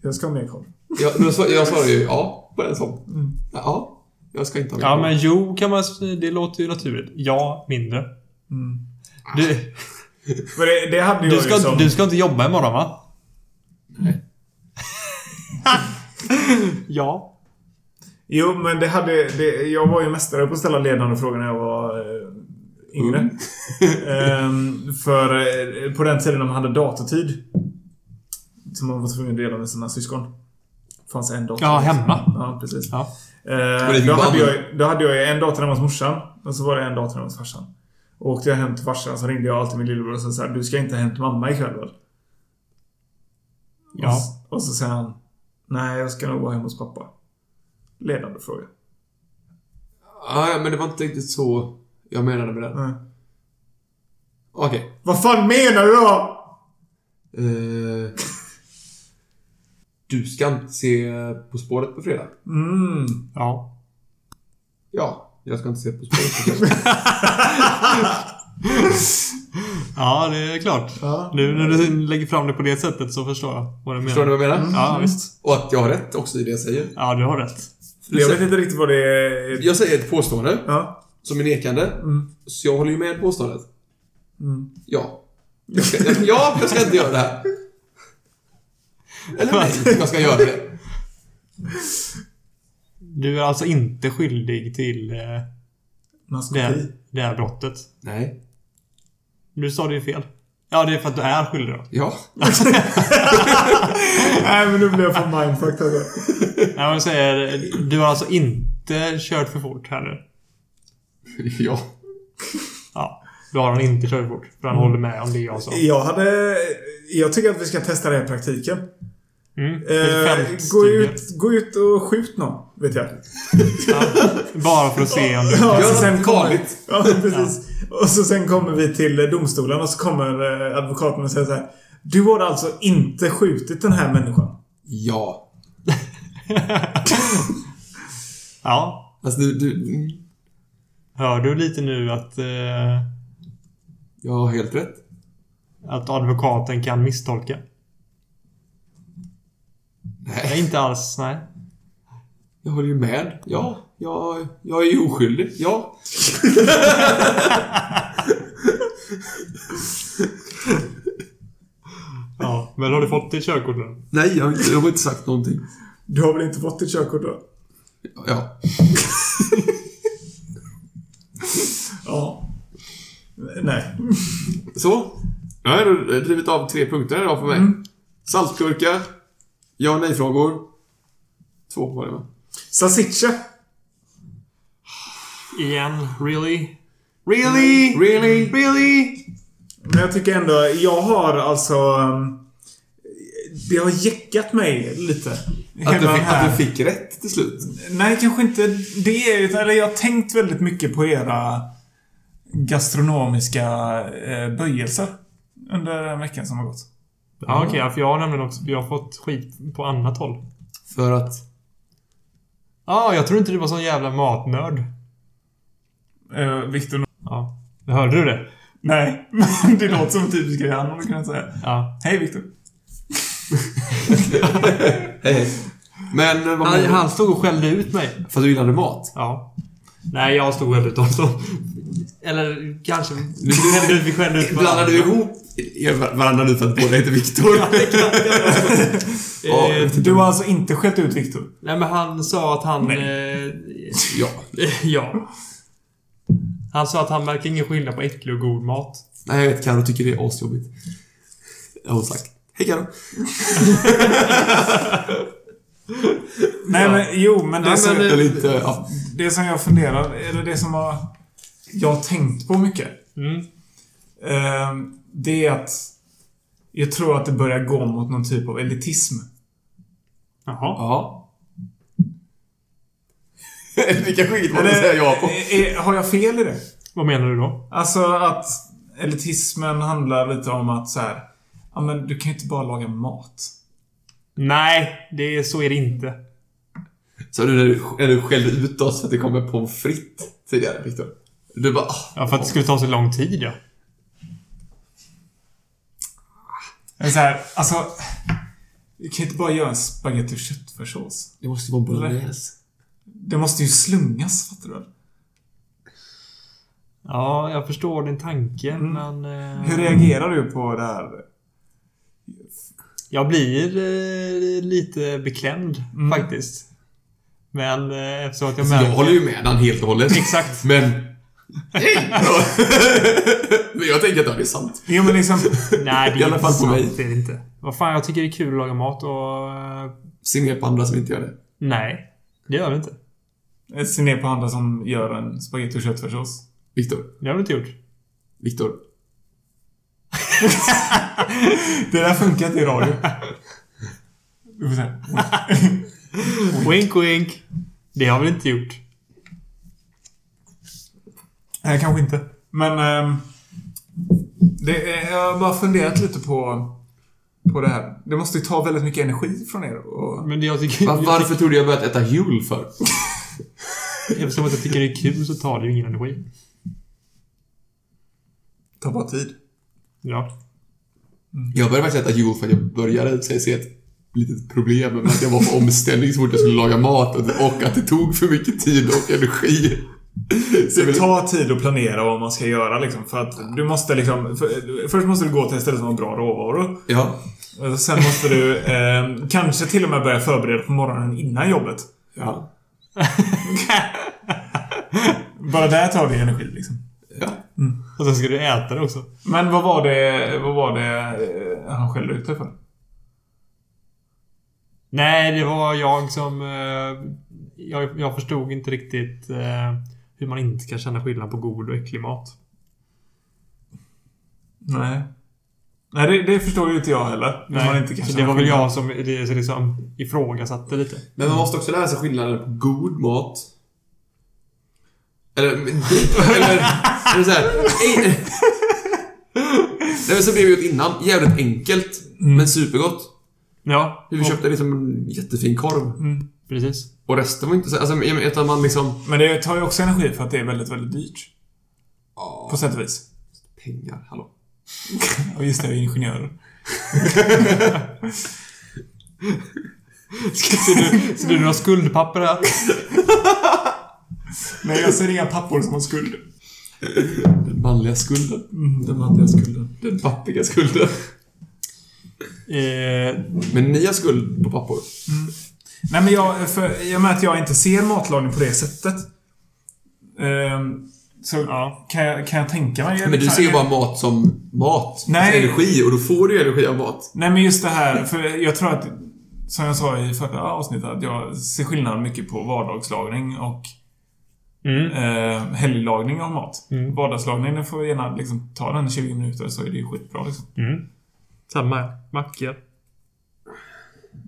Speaker 5: Jag ska ha mer korv.
Speaker 2: Jag, men svar- jag svarar ju ja på den som. Ja, jag ska inte ha mer
Speaker 4: Mm. Ja,
Speaker 2: korv.
Speaker 4: men jo kan man... Det låter ju naturligt. Ja, mindre.
Speaker 5: Mm.
Speaker 4: Du,
Speaker 5: För det, det hade jag
Speaker 4: du,
Speaker 5: Ah, ju
Speaker 4: ska,
Speaker 5: som...
Speaker 4: du ska inte jobba imorgon, va? Nej. ja.
Speaker 5: Jo, men det hade... Det, jag var ju mästare på att ställa ledande frågor när jag var eh, yngre.
Speaker 4: Mm.
Speaker 5: Ehm, för eh, på den tiden när man hade datatid. Som man var tvungen att dela med sina syskon. fanns en dator.
Speaker 4: Ja, hemma.
Speaker 5: Ja, precis.
Speaker 4: Ja.
Speaker 2: det
Speaker 5: Eh,
Speaker 2: din
Speaker 5: då,
Speaker 2: mamma?
Speaker 5: hade jag, ju- då hade jag ju en dator hemma hos morsan och så var det en dator hemma hos farsan. Och åkte jag hem till farsan så ringde jag alltid min lillebror och sa så här, Du ska inte hem till mamma ikväll väl? Och,
Speaker 4: Ja.
Speaker 5: s- och så säger han Nej, jag ska nog vara hemma hos pappa. Ledande fråga.
Speaker 2: Ja, men det var inte riktigt så jag menade med det.
Speaker 5: Nej.
Speaker 2: Okej.
Speaker 5: Vad fan menar du då?
Speaker 2: Eh, du ska inte se På spåret på fredag?
Speaker 5: Mm.
Speaker 4: Ja.
Speaker 2: Ja, jag ska inte se På spåret på fredag.
Speaker 4: Ja, det är klart.
Speaker 5: Ja.
Speaker 4: Nu när du lägger fram det på det sättet så förstår jag vad du menar.
Speaker 2: Förstår ni vad jag menar?
Speaker 4: Ja, visst.
Speaker 2: Och att jag har rätt också i det jag säger.
Speaker 4: Ja, du har rätt.
Speaker 5: Jag vet inte riktigt vad det är.
Speaker 2: Jag säger ett påstående
Speaker 5: Ja.
Speaker 2: som är nekande.
Speaker 4: Mm.
Speaker 2: Så jag håller ju med påståendet. Ja. Jag ska, jag, ja, jag ska inte göra det här. Eller nej, jag ska göra det.
Speaker 4: Du är alltså inte skyldig till eh, det,
Speaker 5: Maskopi.
Speaker 4: här, det här brottet.
Speaker 2: Nej.
Speaker 4: Du sa det ju fel. Ja, det är för att du är skyldig då.
Speaker 2: Ja.
Speaker 5: Nej, men nu blev jag för mindfucked här.
Speaker 4: Nej, men jag säger, du har alltså inte kört för fort här nu.
Speaker 2: Ja.
Speaker 4: Ja. Du har han inte kört för fort. För han håller med om det jag sa.
Speaker 5: Jag hade... Jag tycker att vi ska testa det här i praktiken.
Speaker 4: Mm.
Speaker 5: Eh, gå,
Speaker 4: Fältstudier.
Speaker 5: ut, gå ut och skjut någon, vet jag.
Speaker 4: Ja. Bara för att se om du...
Speaker 5: Ja,
Speaker 2: Gör
Speaker 5: så sen
Speaker 2: något
Speaker 5: kommer,
Speaker 2: farligt.
Speaker 5: ja, precis. Och så sen kommer vi till domstolen och så kommer eh, advokaten och säger så här. Du har alltså inte skjutit den här människan.
Speaker 2: Ja.
Speaker 4: Ja.
Speaker 2: Alltså du, du... mm.
Speaker 4: Hör du lite nu att, eh,
Speaker 2: Jag har helt rätt.
Speaker 4: att advokaten kan misstolka? Nej,
Speaker 2: Nej.
Speaker 4: inte alls. Nej.
Speaker 2: Jag håller ju med. Ja. Jag, jag är ju oskyldig. Ja.
Speaker 4: Ja. Men har du fått ditt körkort nu?
Speaker 2: Nej, jag har inte, jag har inte sagt någonting.
Speaker 5: Du har väl inte fått ditt körkort då?
Speaker 2: Ja.
Speaker 5: Ja. Nej.
Speaker 2: Så. Mm. Jag har ändå drivit av tre punkter idag för mig. Saltgurka. Ja och nej-frågor. Två var det va?
Speaker 5: Salsiccia.
Speaker 4: Igen. Really?
Speaker 5: Really?
Speaker 2: Really?
Speaker 5: Really? Men jag tycker ändå, jag har alltså... um, Det har jäckat mig lite.
Speaker 2: Att du,
Speaker 5: Hemma
Speaker 2: fick,
Speaker 5: här.
Speaker 2: att du fick rätt till slut.
Speaker 5: Nej, kanske inte det. utan- Eller jag har tänkt väldigt mycket på era gastronomiska eh, böjelser. Under den veckan som har gått.
Speaker 4: Ja, okej. ja, för jag har nämligen också... Jag har fått skit på annat håll.
Speaker 2: För att...
Speaker 4: Ja, ah, jag tror inte du var sån jävla matnörd.
Speaker 5: Eh, Viktor...
Speaker 4: Ja. Hörde du det?
Speaker 5: Nej, men det låter som typiskt grej han hade kunnat säga.
Speaker 4: Ja.
Speaker 5: Hej Viktor.
Speaker 2: Hej, hej. Eh, Men vad menar
Speaker 4: Han,
Speaker 2: du?
Speaker 4: han stod och skällde ut mig.
Speaker 2: För att du gillade mat?
Speaker 4: Ja. Nej, jag stod och skällde ut honom. Eller kanske... Du skällde ut, vi skällde ut
Speaker 2: Blandar du ihop er var- varandra nu för att båda heter Viktor? Ja,
Speaker 4: Eh.
Speaker 2: jag vet inte.
Speaker 5: Du har alltså inte skällt ut Viktor?
Speaker 4: Nej, men han sa att han... Eh,
Speaker 2: Ja.
Speaker 4: ja. Han sa att han märker ingen skillnad på äcklig och god mat.
Speaker 2: Nej, jag vet. Carro tycker det är asjobbigt. Har hon sagt. Hej Carro.
Speaker 5: Nej men jo, men det,
Speaker 4: Nej,
Speaker 5: som,
Speaker 4: men, eh,
Speaker 2: Eller inte... Ja.
Speaker 5: det som jag funderar, eller det som har, jag har tänkt på mycket.
Speaker 4: Mm.
Speaker 5: ehm, det är att jag tror att det börjar gå mot någon typ av elitism.
Speaker 4: Jaha.
Speaker 2: ja. det kanske inget man
Speaker 5: Eller,
Speaker 2: kan säga ja på.
Speaker 5: är- har jag fel i det?
Speaker 4: Vad menar du då?
Speaker 5: Alltså att elitismen handlar lite om att så här, ja men du kan ju inte bara laga mat.
Speaker 4: Nej, det är, så är det inte.
Speaker 2: Så du när du, när du skällde ut oss för att det kom en pommes frites tidigare, Viktor? Du bara... ah,
Speaker 4: Ja, för att det skulle ta så lång tid, ja.
Speaker 5: Eller så här, alltså, du kan ju inte bara göra en spagetti och köttfärssås.
Speaker 2: Det måste ju vara bolognese.
Speaker 5: Det måste ju slungas, fattar du väl?
Speaker 4: Ja, jag förstår din tanke, men... eh,
Speaker 5: Hur reagerar du på det här?
Speaker 4: Jag blir eh, lite beklämd, faktiskt. Men eh, eftersom att jag
Speaker 2: Mm. Alltså, Jag
Speaker 4: märker...
Speaker 2: håller ju med han helt och hållet.
Speaker 4: Exakt.
Speaker 2: Men... Ja. Men jag tänker att ja, det är sant.
Speaker 5: Jo men liksom...
Speaker 4: Nej, det är
Speaker 2: I alla
Speaker 4: inte
Speaker 2: fall på
Speaker 4: sant,
Speaker 2: mig.
Speaker 4: Det är det inte. Vad fan, jag tycker det är kul att laga mat och... eh,
Speaker 2: Se ner på andra som inte gör det.
Speaker 4: Nej, det gör det inte.
Speaker 5: Se ner på andra som gör en spagetti och köttfärssås.
Speaker 2: Viktor.
Speaker 4: Det har du inte gjort.
Speaker 2: Viktor.
Speaker 5: Det där funkar inte i radio. Vi får se.
Speaker 4: Wink, wink. Det har vi inte gjort.
Speaker 5: Nej, kanske inte. Men... ehm, det, är- jag har bara funderat lite på... På det här. Det måste ju ta väldigt mycket energi från er och...
Speaker 4: Men det jag tycker...
Speaker 2: Va- varför tror du jag börjat äta jul för?
Speaker 4: Eftersom att jag tycker det är kul så tar det ju ingen energi.
Speaker 5: Ta bara tid.
Speaker 4: Ja.
Speaker 2: Jag började faktiskt äta jul för att jag började säga se ett litet problem med att jag var på omställning så fort jag skulle laga mat och, och att det tog för mycket tid och energi. Så jag
Speaker 5: Det
Speaker 2: ville-
Speaker 5: tar tid att planera vad man ska göra liksom. För att du måste liksom... För, först måste du gå till ett ställe som har bra råvaror.
Speaker 2: Ja.
Speaker 5: Eh, Sen måste du eh, kanske till och med börja förbereda på morgonen innan jobbet.
Speaker 2: Ja.
Speaker 5: Bara där tar det energi liksom.
Speaker 2: Ja.
Speaker 4: Och sen ska du äta det också.
Speaker 5: Men vad var det, vad var det eh, han skällde ut dig för?
Speaker 4: Nej, det var jag som... eh, jag, jag förstod inte riktigt eh, hur man inte kan känna skillnad på god och äcklig mat.
Speaker 5: Nej. Nej, det, det förstår ju inte jag heller. Hur
Speaker 4: Nej,
Speaker 5: man inte kan
Speaker 4: så
Speaker 5: känna
Speaker 4: det var väl
Speaker 5: skillnad.
Speaker 4: jag som det, så liksom, ifrågasatte lite.
Speaker 2: Men man måste också lära sig skillnaden på god mat eller... Eller... eller så här, ej- Nej men så blev vi åt innan. Jävligt enkelt. Men supergott.
Speaker 4: Ja,
Speaker 2: Vi köpte liksom en jättefin korv.
Speaker 4: precis.
Speaker 2: Och resten var inte så... Alltså, jag menar, utan man liksom...
Speaker 5: Men det tar ju också energi för att det är väldigt, väldigt dyrt. På sätt och vis.
Speaker 2: Pengar, hallå.
Speaker 5: Och just det, vi är ingenjörer.
Speaker 4: Så du, du har skuldpapper här?
Speaker 5: Men jag ser inga pappor som har skuld.
Speaker 2: Den manliga skulden.
Speaker 5: Den manliga skulden.
Speaker 2: Den pappiga skulden.
Speaker 4: Eh,
Speaker 2: Men ni har skuld på pappor.
Speaker 5: Nej, men jag... För, I och med att jag inte ser matlagning på det sättet. ehm, så
Speaker 4: Ja.
Speaker 5: kan, jag, kan jag tänka mig...
Speaker 2: Men du ser ju bara mat som mat.
Speaker 5: Nej.
Speaker 2: Alltså energi. Och då får du ju energi av mat.
Speaker 5: Nej men just det här, för jag tror att som jag sa i förra avsnittet, att jag ser skillnad mycket på vardagslagning och
Speaker 4: Mm.
Speaker 5: eh, helglagning av mat. Vardagslagning, den får gärna liksom ta den 20 minuter så är det ju skitbra liksom.
Speaker 4: Mm. Samma här. Mackor.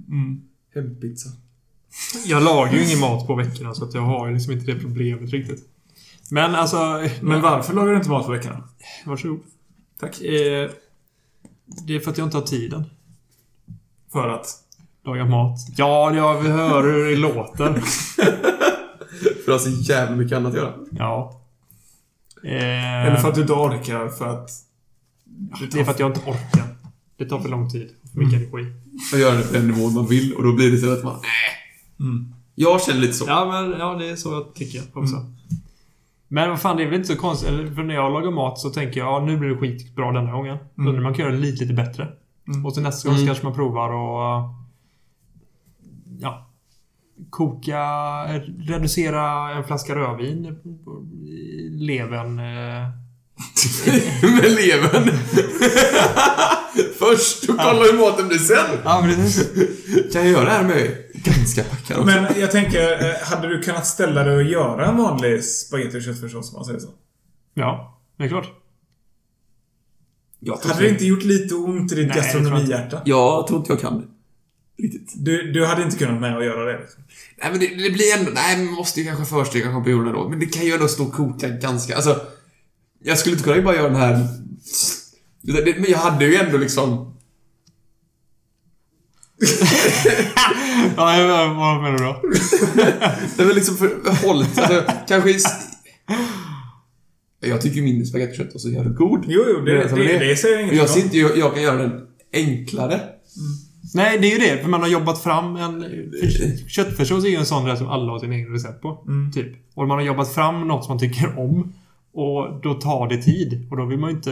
Speaker 5: Mm.
Speaker 2: Hempizza.
Speaker 4: Jag lagar ju ingen mat på veckorna så att jag har ju liksom inte det problemet riktigt. Men alltså...
Speaker 5: Mm. Men varför lagar du inte mat på veckorna?
Speaker 4: Varsågod.
Speaker 5: Tack.
Speaker 4: Eh, det är för att jag inte har tiden.
Speaker 5: För att...
Speaker 4: Laga mat. Ja, jag hör hur det låter.
Speaker 2: För alltså jävligt mycket annat att göra.
Speaker 4: Ja. Eh,
Speaker 5: Eller för att du inte orkar för att...
Speaker 4: Det är för att jag inte orkar. Det tar för lång tid. För mycket energi.
Speaker 2: Man gör det på den nivån man vill och då blir det så att man... Nej.
Speaker 5: Mm.
Speaker 2: Jag känner lite så.
Speaker 4: Ja, men ja, det är så jag tycker också. Men vad fan, det är väl inte så konstigt. Eller, För när jag lagar mat så tänker jag ja, nu blir det skitbra denna gången.
Speaker 5: Mm.
Speaker 4: Undrar om man kan göra det lite, lite bättre.
Speaker 5: Mm.
Speaker 4: Och så nästa gång så
Speaker 2: Mm.
Speaker 4: kanske man provar och... eh, Ja. Koka... eh, Reducera en flaska rödvin. i Levern. eh,
Speaker 2: Med levern. Först och kolla hur maten blir sen.
Speaker 4: Ja, precis.
Speaker 2: Kan jag göra det här med ganska packad också?
Speaker 5: Men jag tänker, eh, hade du kunnat ställa dig och göra en vanlig spagetti och köttfärssås om man säger så?
Speaker 4: Ja, det är klart.
Speaker 2: jag, tror
Speaker 5: Hade det
Speaker 2: inte...
Speaker 5: inte gjort lite ont i ditt
Speaker 4: Nej, det tror jag inte.
Speaker 5: gastronomihjärta?
Speaker 2: jag tror inte jag kan det. Riktigt.
Speaker 5: Du, du hade inte kunnat med och göra det? liksom.
Speaker 2: Nej men det, det blir ändå... Nej, man måste ju kanske försteka champinjonerna då. Men det kan ju ändå stå och koka ganska... Alltså... Jag skulle inte kunna bara göra den här... Det- det- Men jag hade ju ändå liksom...
Speaker 4: Ja, jag- vad menar du då?
Speaker 2: Nej men liksom för, hållit... Alltså, kanske... i s- Jag tycker ju min spagettikött var så jävla god.
Speaker 5: Jo, jo, det, alltså,
Speaker 2: Det är som
Speaker 5: det, det,
Speaker 2: det är.
Speaker 5: säger jag inget
Speaker 2: Jag, ser inte, jag, jag kan göra den enklare.
Speaker 4: Nej, det är ju det. För man har jobbat fram en...
Speaker 2: Eh.
Speaker 4: för- Köttfärssås är ju en sån där som alla har sin egen recept på.
Speaker 5: Mm.
Speaker 4: Typ. Och man har jobbat fram något som man tycker om. Och då tar det tid. Och då vill man ju inte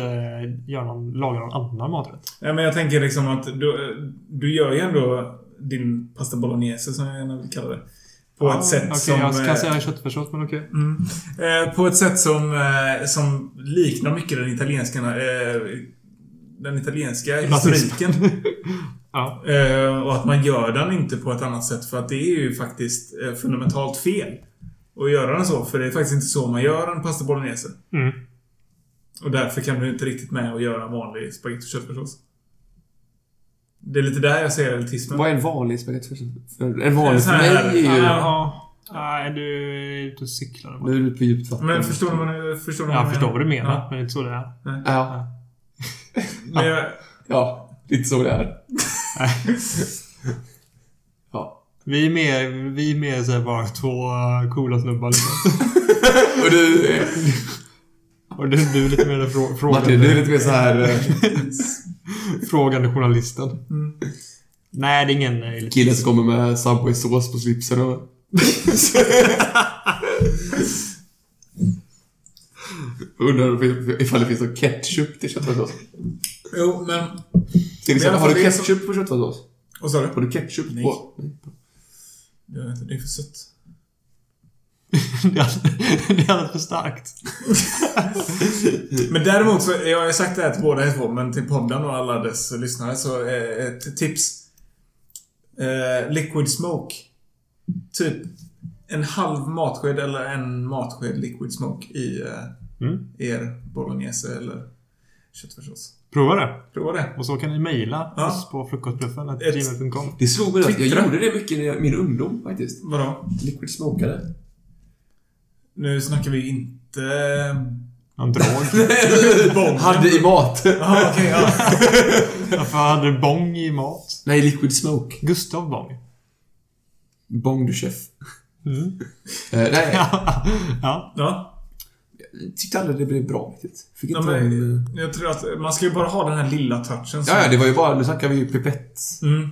Speaker 4: göra någon, laga någon annan maträtt.
Speaker 5: Ja, men jag tänker liksom att du, du gör ju ändå din pasta bolognese, som jag gärna vill kalla det. På ett sätt
Speaker 4: Ah, Okej,
Speaker 5: som...
Speaker 4: jag
Speaker 5: eh,
Speaker 4: kan säga köttfärssås, men okej.
Speaker 5: Mm. Eh, på ett sätt som, eh, som liknar mycket den italienska, eh, den italienska
Speaker 4: Nazism.
Speaker 5: historiken.
Speaker 4: Ja.
Speaker 5: Eh, och att man gör den inte på ett annat sätt för att det är ju faktiskt eh, fundamentalt fel. Att göra den så, för det är faktiskt inte så man gör en pasta bolognese.
Speaker 4: Mm.
Speaker 5: Och därför kan du inte riktigt med och göra en vanlig spagetti och köttfärssås. Det är lite där jag ser elitismen.
Speaker 2: Vad är en vanlig spagettikött? En vanlig för mig är ju...
Speaker 4: Jaha. Nej, du är ute och cyklar.
Speaker 2: Nu är du på djupt vatten.
Speaker 5: Men förstår man förstår man
Speaker 4: Jag förstår vad du menar,
Speaker 5: Ja.
Speaker 4: men det är inte så det är.
Speaker 2: Ja.
Speaker 5: Men jag,
Speaker 2: Ja. Lite så det är. ja.
Speaker 4: Vi är mer, vi är mer så här bara två eh, coola snubbar. liksom.
Speaker 2: Och du... eh,
Speaker 4: Och du, du är lite mer den frå, frågande.
Speaker 2: Martin, du är lite mer så här... eh,
Speaker 4: Frågande journalisten. Nej, det är ingen... eh, elit.
Speaker 2: Mm. Killen som kommer med Subway-sås på slipsen och... Undrar ifall det finns någon ketchup till köttfärssås.
Speaker 5: jo, men...
Speaker 2: Till
Speaker 5: Men i alla
Speaker 2: exempel, har
Speaker 5: fall
Speaker 2: du
Speaker 5: det är så-
Speaker 2: ketchup på köttfärssås?
Speaker 5: Vad sa du?
Speaker 2: Har du ketchup
Speaker 5: Nej.
Speaker 2: på?
Speaker 5: Jag vet inte, det är för sött.
Speaker 4: Det är alldeles- det är alldeles för starkt.
Speaker 5: Men däremot så, jag har ju sagt det här till båda er två, men till podden och alla dess lyssnare så, eh, ett tips. Eh, liquid smoke. Typ en halv matsked eller en matsked liquid smoke i eh,
Speaker 4: Mm.
Speaker 5: er bolognese eller köttfärssås.
Speaker 4: Prova det.
Speaker 5: Prova det.
Speaker 4: Och så kan ni mejla
Speaker 5: Ja.
Speaker 4: oss på frukostbluffen
Speaker 5: Ett-
Speaker 4: gmail.com.
Speaker 2: Det slog mig att jag
Speaker 5: Twittra.
Speaker 2: gjorde det mycket i min ungdom faktiskt.
Speaker 5: Vadå?
Speaker 2: Liquid smokade.
Speaker 5: Nu snackar vi inte...
Speaker 4: En drag.
Speaker 5: Bomben.
Speaker 2: Hade i mat.
Speaker 5: Jaha, okej. ja.
Speaker 4: Varför hade Bong i mat?
Speaker 2: Nej, liquid smoke.
Speaker 4: Gustav Bong.
Speaker 2: Bong du chef. Eh,
Speaker 4: Mm.
Speaker 2: nej,
Speaker 4: ja.
Speaker 5: ja.
Speaker 2: jag tyckte aldrig det blev bra riktigt. Fick
Speaker 5: Ja,
Speaker 2: inte
Speaker 5: men,
Speaker 2: den...
Speaker 5: jag tror att man ska ju bara ha den här lilla touchen. som-
Speaker 2: Ja, ja, det var ju bara... Nu snackar vi ju pipett.
Speaker 5: Mm.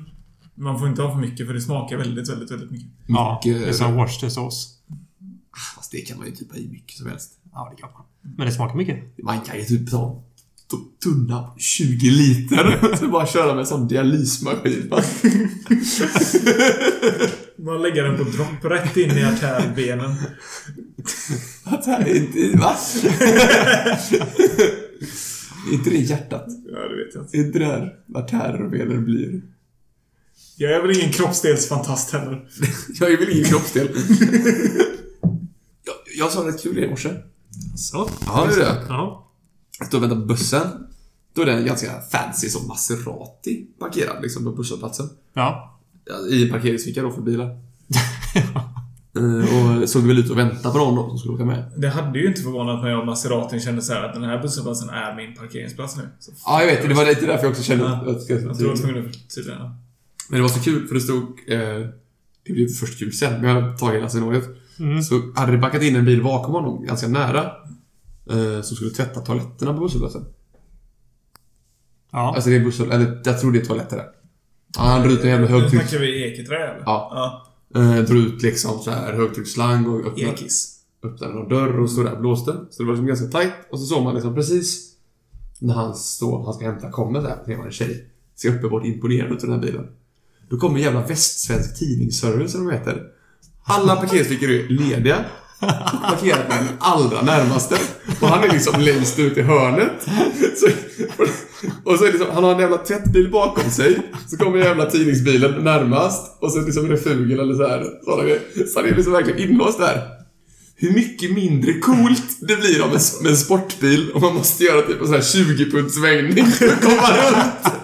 Speaker 5: Man får inte ha för mycket för det smakar väldigt, väldigt, väldigt mycket.
Speaker 4: ja.
Speaker 2: Mycket-
Speaker 4: Det är som wash the sauce.
Speaker 2: Fast det kan man ju typ ha i mycket som helst.
Speaker 4: Ja, det kan man. Men det smakar mycket.
Speaker 2: Man kan ju typ ta t- tunna 20 liter. Så bara köra med en sån dialysmaskin. va?
Speaker 5: Man lägger den på dropp rätt in i artärbenen.
Speaker 2: Att här är inte... Va? Är inte det hjärtat?
Speaker 5: Ja, det vet jag inte.
Speaker 2: Är inte det här artärer och vener blir?
Speaker 5: Jag är väl ingen kroppsdelsfantast heller.
Speaker 2: Jag är väl ingen kroppsdel. jag, jag sa rätt kul grej i morse.
Speaker 4: Så.
Speaker 2: Ja, det är det.
Speaker 4: Ja.
Speaker 2: Då väntar på bussen. Då är den ganska fancy som Maserati parkerad liksom på busshållplatsen.
Speaker 4: Ja.
Speaker 2: Ja, I en parkeringsficka då för bilar. Eh, och såg väl ut att vänta på någon då som skulle åka med.
Speaker 5: Det hade ju inte förvånat mig om Maseratin kände så här att den här busshållplatsen är min parkeringsplats nu. Så
Speaker 2: Ja, jag vet. Det var lite därför jag också kände
Speaker 5: Ja.
Speaker 2: att jag skulle
Speaker 5: jag tror jag var tvungen att förtydliga.
Speaker 2: Men det var så kul för det stod... Eh, det blev först kul sen, men jag tar hela scenariot. Så hade det backat in en bil bakom honom, ganska nära. Eh, som skulle tvätta toaletterna på busshållplatsen.
Speaker 4: Ja.
Speaker 2: Alltså det är busshåll... Eller jag tror det är toaletter där. Ja, han drar ut en jävla typ.
Speaker 5: Nu
Speaker 2: högtryck...
Speaker 5: snackar vi Eketrä eller?
Speaker 2: Ja. Eh, drar ut liksom så här högtrycksslang och
Speaker 5: ja.
Speaker 2: öppnar...
Speaker 5: Ekis.
Speaker 2: öppnade någon dörr och stod där och blåste. Så det var liksom ganska tajt. Och så såg man liksom precis när han står, han ska hämta, kommer där, ser man en tjej. Ser uppenbart imponerad ut i den här bilen. Då kommer en jävla västsvensk tidningsservice eller vad de heter. Alla parkeringsfickor är lediga. Parkerat med den allra närmaste. Och han är liksom längst ut i hörnet. Så, och så är liksom, han har en jävla tvättbil bakom sig. Så kommer jävla tidningsbilen närmast. Och så liksom refugel eller så här. sådana grejer. Så han är liksom verkligen inlåst där hur mycket mindre coolt det blir av en, med en sportbil om man måste göra typ en sån här 20 punkt svängning för att komma runt.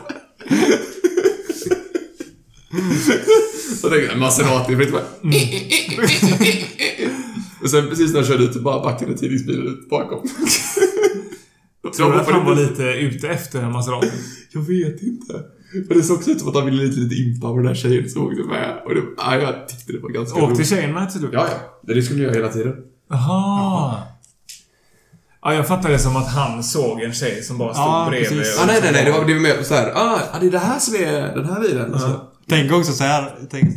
Speaker 2: Så tänkte jag, Maserati, för det var... Och sen precis när jag körde ut så bara backade tidningsbilen ut bakom.
Speaker 5: Tror du att han var
Speaker 2: det?
Speaker 5: lite ute efter en Maserati?
Speaker 2: Jag vet inte. Men det såg också ut som att han ville lite, lite impa på den här tjejen som åkte med. Och det, ja, jag tyckte det var ganska
Speaker 5: Åkte
Speaker 2: roligt.
Speaker 5: tjejen med till slut?
Speaker 2: Ja, ja. Det skulle jag göra hela tiden.
Speaker 5: Aha. Ja, jag fattade det som att han såg en tjej som bara stod
Speaker 4: Ja,
Speaker 5: bredvid.
Speaker 4: precis.
Speaker 5: och-
Speaker 2: Ja, Ah, nej, nej, nej. Det var, det var mer så här. Ah, ja, det är det här som är den här alltså. bilen. Och så.
Speaker 4: Tänk också så här. Tänk,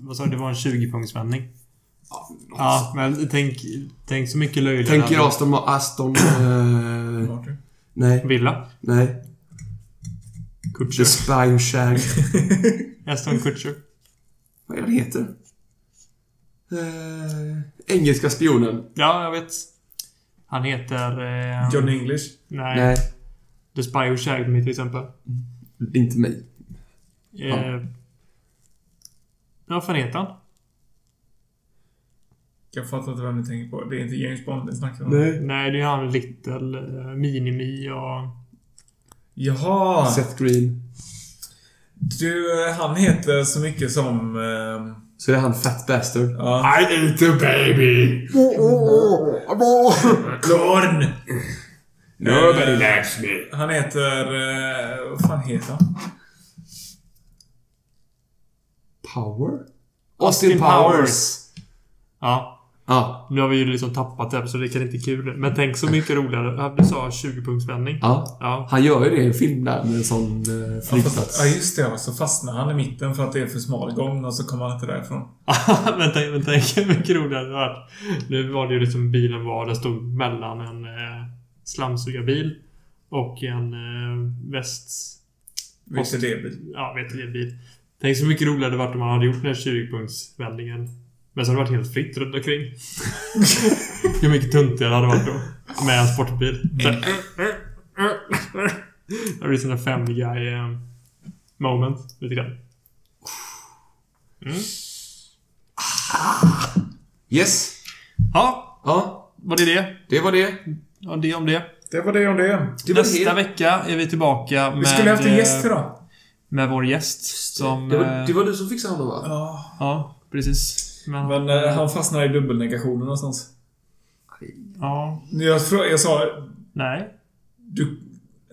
Speaker 4: vad sa du? Det var en 20-punktsvändning. Ja, men tänk, tänk så mycket löjligt.
Speaker 2: Tänk er Aston... Ma- Aston eh,
Speaker 5: Martin.
Speaker 2: nej,
Speaker 4: Villa.
Speaker 2: nej. The Spine Shag.
Speaker 4: Aston Kutcher.
Speaker 2: Vad är den heter? Eh, engelska spionen.
Speaker 4: Ja, jag vet. Han heter... Eh,
Speaker 5: John English.
Speaker 4: Nej.
Speaker 2: Nej,
Speaker 4: The Spy Who Shagged Me till exempel.
Speaker 2: det är inte mig.
Speaker 4: Eh, ja, vad fan heter han?
Speaker 5: Jag fattar inte vem ni tänker på. Det är inte James Bond ni snackar om.
Speaker 4: Nej, det är han Little, eh, Minimi och...
Speaker 5: Jaha!
Speaker 2: Seth Green.
Speaker 5: Du, eh, han heter så mycket som... Eh,
Speaker 2: Så det är han Fat Bastard. Oh,
Speaker 5: ja.
Speaker 1: I eat a baby.
Speaker 5: Korn!
Speaker 1: Nobody likes me.
Speaker 5: Han heter... Eh, vad fan heter han?
Speaker 2: Power? Austin, Powers.
Speaker 4: Ja.
Speaker 2: Ja.
Speaker 4: Nu har vi ju liksom tappat det här, så det kan inte kul. Men tänk så mycket roligare. Ja, Du sa 20-punktsvändning.
Speaker 2: ja.
Speaker 4: Ja.
Speaker 2: Han gör ju det i en film där med en sån eh,
Speaker 5: Ja, fast-
Speaker 2: flygplats.
Speaker 5: ja, just det. ja. Så fastnar han i mitten för att det är för smal gång och så kommer han inte därifrån.
Speaker 4: men tänk, men tänk hur mycket roligare det hade varit. Nu var det ju liksom bilen var. Den stod mellan en eh, slamsugarbil och en eh, väst...
Speaker 5: Vilket det blir.
Speaker 4: ja, vet du, bil. Tänk så mycket roligare det varit om man hade gjort den här 20-punktsvändningen. Men så hade det varit helt fritt runt omkring. Hur mycket tuntigare det hade varit då. Med en sportbil. Så, här, det blir sådana family guy eh, moment. Lite grann.
Speaker 2: Yes.
Speaker 4: Ja,
Speaker 2: Ja,
Speaker 4: var det det?
Speaker 2: det var det.
Speaker 4: Ja, det om det.
Speaker 5: Det var det om det.
Speaker 2: det var det.
Speaker 4: Nästa vecka är vi tillbaka med...
Speaker 5: Vi skulle haft en gäst
Speaker 4: eh,
Speaker 5: idag.
Speaker 4: Med vår gäst. Som...
Speaker 2: Det var,
Speaker 4: eh,
Speaker 2: det var du som fixade honom va?
Speaker 5: Ja.
Speaker 4: Ja, precis. Men,
Speaker 5: Men eh, han fastnar i dubbelnegationen någonstans.
Speaker 4: Ja.
Speaker 5: Jag, tror, jag sa
Speaker 4: Nej.
Speaker 5: Du,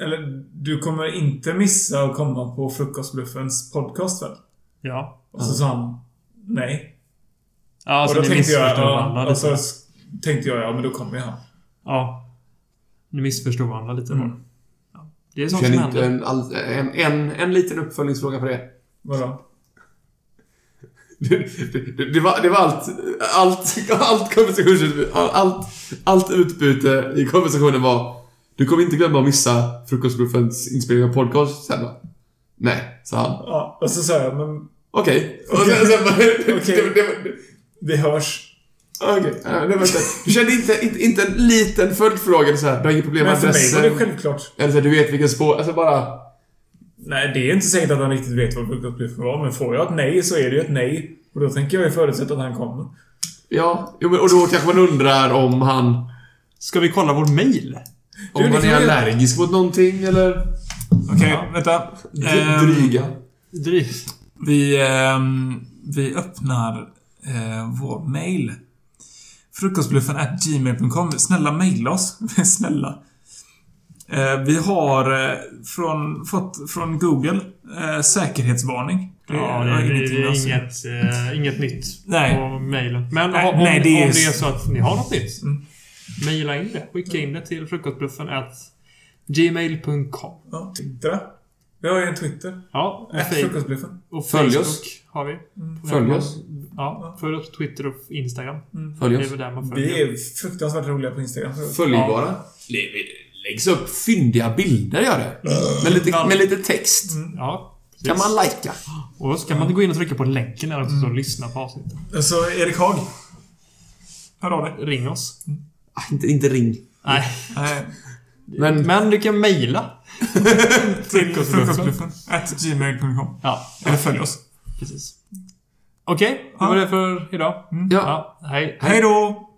Speaker 5: eller, du kommer inte missa att komma på Frukostbluffens podcast väl?
Speaker 4: Ja.
Speaker 5: Och så sa han nej.
Speaker 4: Ja, alltså,
Speaker 5: och
Speaker 4: ni
Speaker 5: då tänkte jag,
Speaker 4: missförstod
Speaker 5: ja, alltså-
Speaker 4: varandra liksom.
Speaker 5: och
Speaker 4: lite.
Speaker 5: så s- tänkte jag, ja men då kommer jag.
Speaker 4: Ja. Ni missförstod varandra lite
Speaker 5: Mm.
Speaker 4: bara. Ja. Det är sånt som
Speaker 2: Känner inte
Speaker 4: händer.
Speaker 2: en, all- en, en, en liten uppföljningsfråga på det.
Speaker 5: Vadå?
Speaker 2: Det, det, det, var, det var allt, allt, allt konversationsutbyte, all- allt, allt utbyte i konversationen var Du kommer inte glömma att missa Frukostbluffens inspelning av podcast sen va? Nej, sa han.
Speaker 5: Ja, och så sa jag, men
Speaker 2: Okej. Och sen, sen bara...
Speaker 5: Okej.
Speaker 2: Det, det, var-
Speaker 5: vi hörs.
Speaker 2: Okej, ja, det var inte... Du kände inte, inte, inte en liten följdfråga eller så här. Du har inget problem med
Speaker 5: Men för mig
Speaker 2: adressen?
Speaker 5: var det självklart.
Speaker 2: Eller så här, du vet vilken spår... Alltså bara...
Speaker 5: Nej, det är inte säkert att han riktigt vet vad produktuppgiften var, men får jag ett nej så är det ju ett nej. Och då tänker jag ju förutsätta att han kommer.
Speaker 2: Ja, jo, men- och då kanske man undrar om han...
Speaker 4: Ska vi kolla vår mail?
Speaker 2: Om
Speaker 5: Du, det
Speaker 2: han
Speaker 5: kan
Speaker 2: är
Speaker 5: vi göra.
Speaker 2: allergisk mot någonting eller...
Speaker 5: Okej, vänta.
Speaker 4: Ehm,
Speaker 2: Dryga.
Speaker 4: Drygt.
Speaker 5: Vi, ehm, vi öppnar eh, vår mail. Frukostbluffen at gmail.com. Snälla mejla oss. Snälla. Eh, vi har eh, från, fått från Google eh, säkerhetsvarning.
Speaker 4: Ja, det
Speaker 5: har
Speaker 4: är, det
Speaker 5: ingenting med oss.
Speaker 4: är inget, eh, inget nytt
Speaker 5: Nej.
Speaker 4: på mejlen. Men
Speaker 5: Nej,
Speaker 4: om,
Speaker 5: nej,
Speaker 4: om,
Speaker 5: det är-
Speaker 4: om det är så att ni har något nytt.
Speaker 5: Mm.
Speaker 4: Mejla in det. Skicka in det till frukostbluffen at gmail.com.
Speaker 5: Ja, Twitter. Vi har ju en Twitter.
Speaker 4: Ja, och,
Speaker 5: At
Speaker 4: fej-
Speaker 5: frukostbluffen.
Speaker 4: och
Speaker 2: Följ
Speaker 4: Facebook
Speaker 2: oss.
Speaker 4: har vi.
Speaker 2: Följ oss.
Speaker 4: Ja, följ oss på Twitter och Instagram.
Speaker 2: Följ
Speaker 4: Det
Speaker 2: oss.
Speaker 4: är väl där man följer.
Speaker 5: Vi Mm. är fruktansvärt roliga på Instagram.
Speaker 2: Följbara. Det läggs upp fyndiga bilder, gör det. Med lite, med lite text.
Speaker 4: Mm. Ja.
Speaker 2: Kan man lajka.
Speaker 4: Och så kan man gå in och trycka på länken där också
Speaker 5: Mm.
Speaker 4: och lyssna på avsnittet.
Speaker 5: Så Erik Haag. Hör av dig. Eh,
Speaker 4: Ring oss.
Speaker 5: Mm.
Speaker 2: Ah, Inte, inte ring.
Speaker 4: Nej.
Speaker 5: Nej,
Speaker 2: Men
Speaker 4: Men du kan mejla.
Speaker 5: till
Speaker 4: Frukostbluffen.
Speaker 5: frukostbluffen. At gmail.com.
Speaker 4: Ja,
Speaker 5: Eller följ oss.
Speaker 4: precis. Okej, det var det för idag.
Speaker 2: ja.
Speaker 4: Ja, hej.
Speaker 5: Hej då!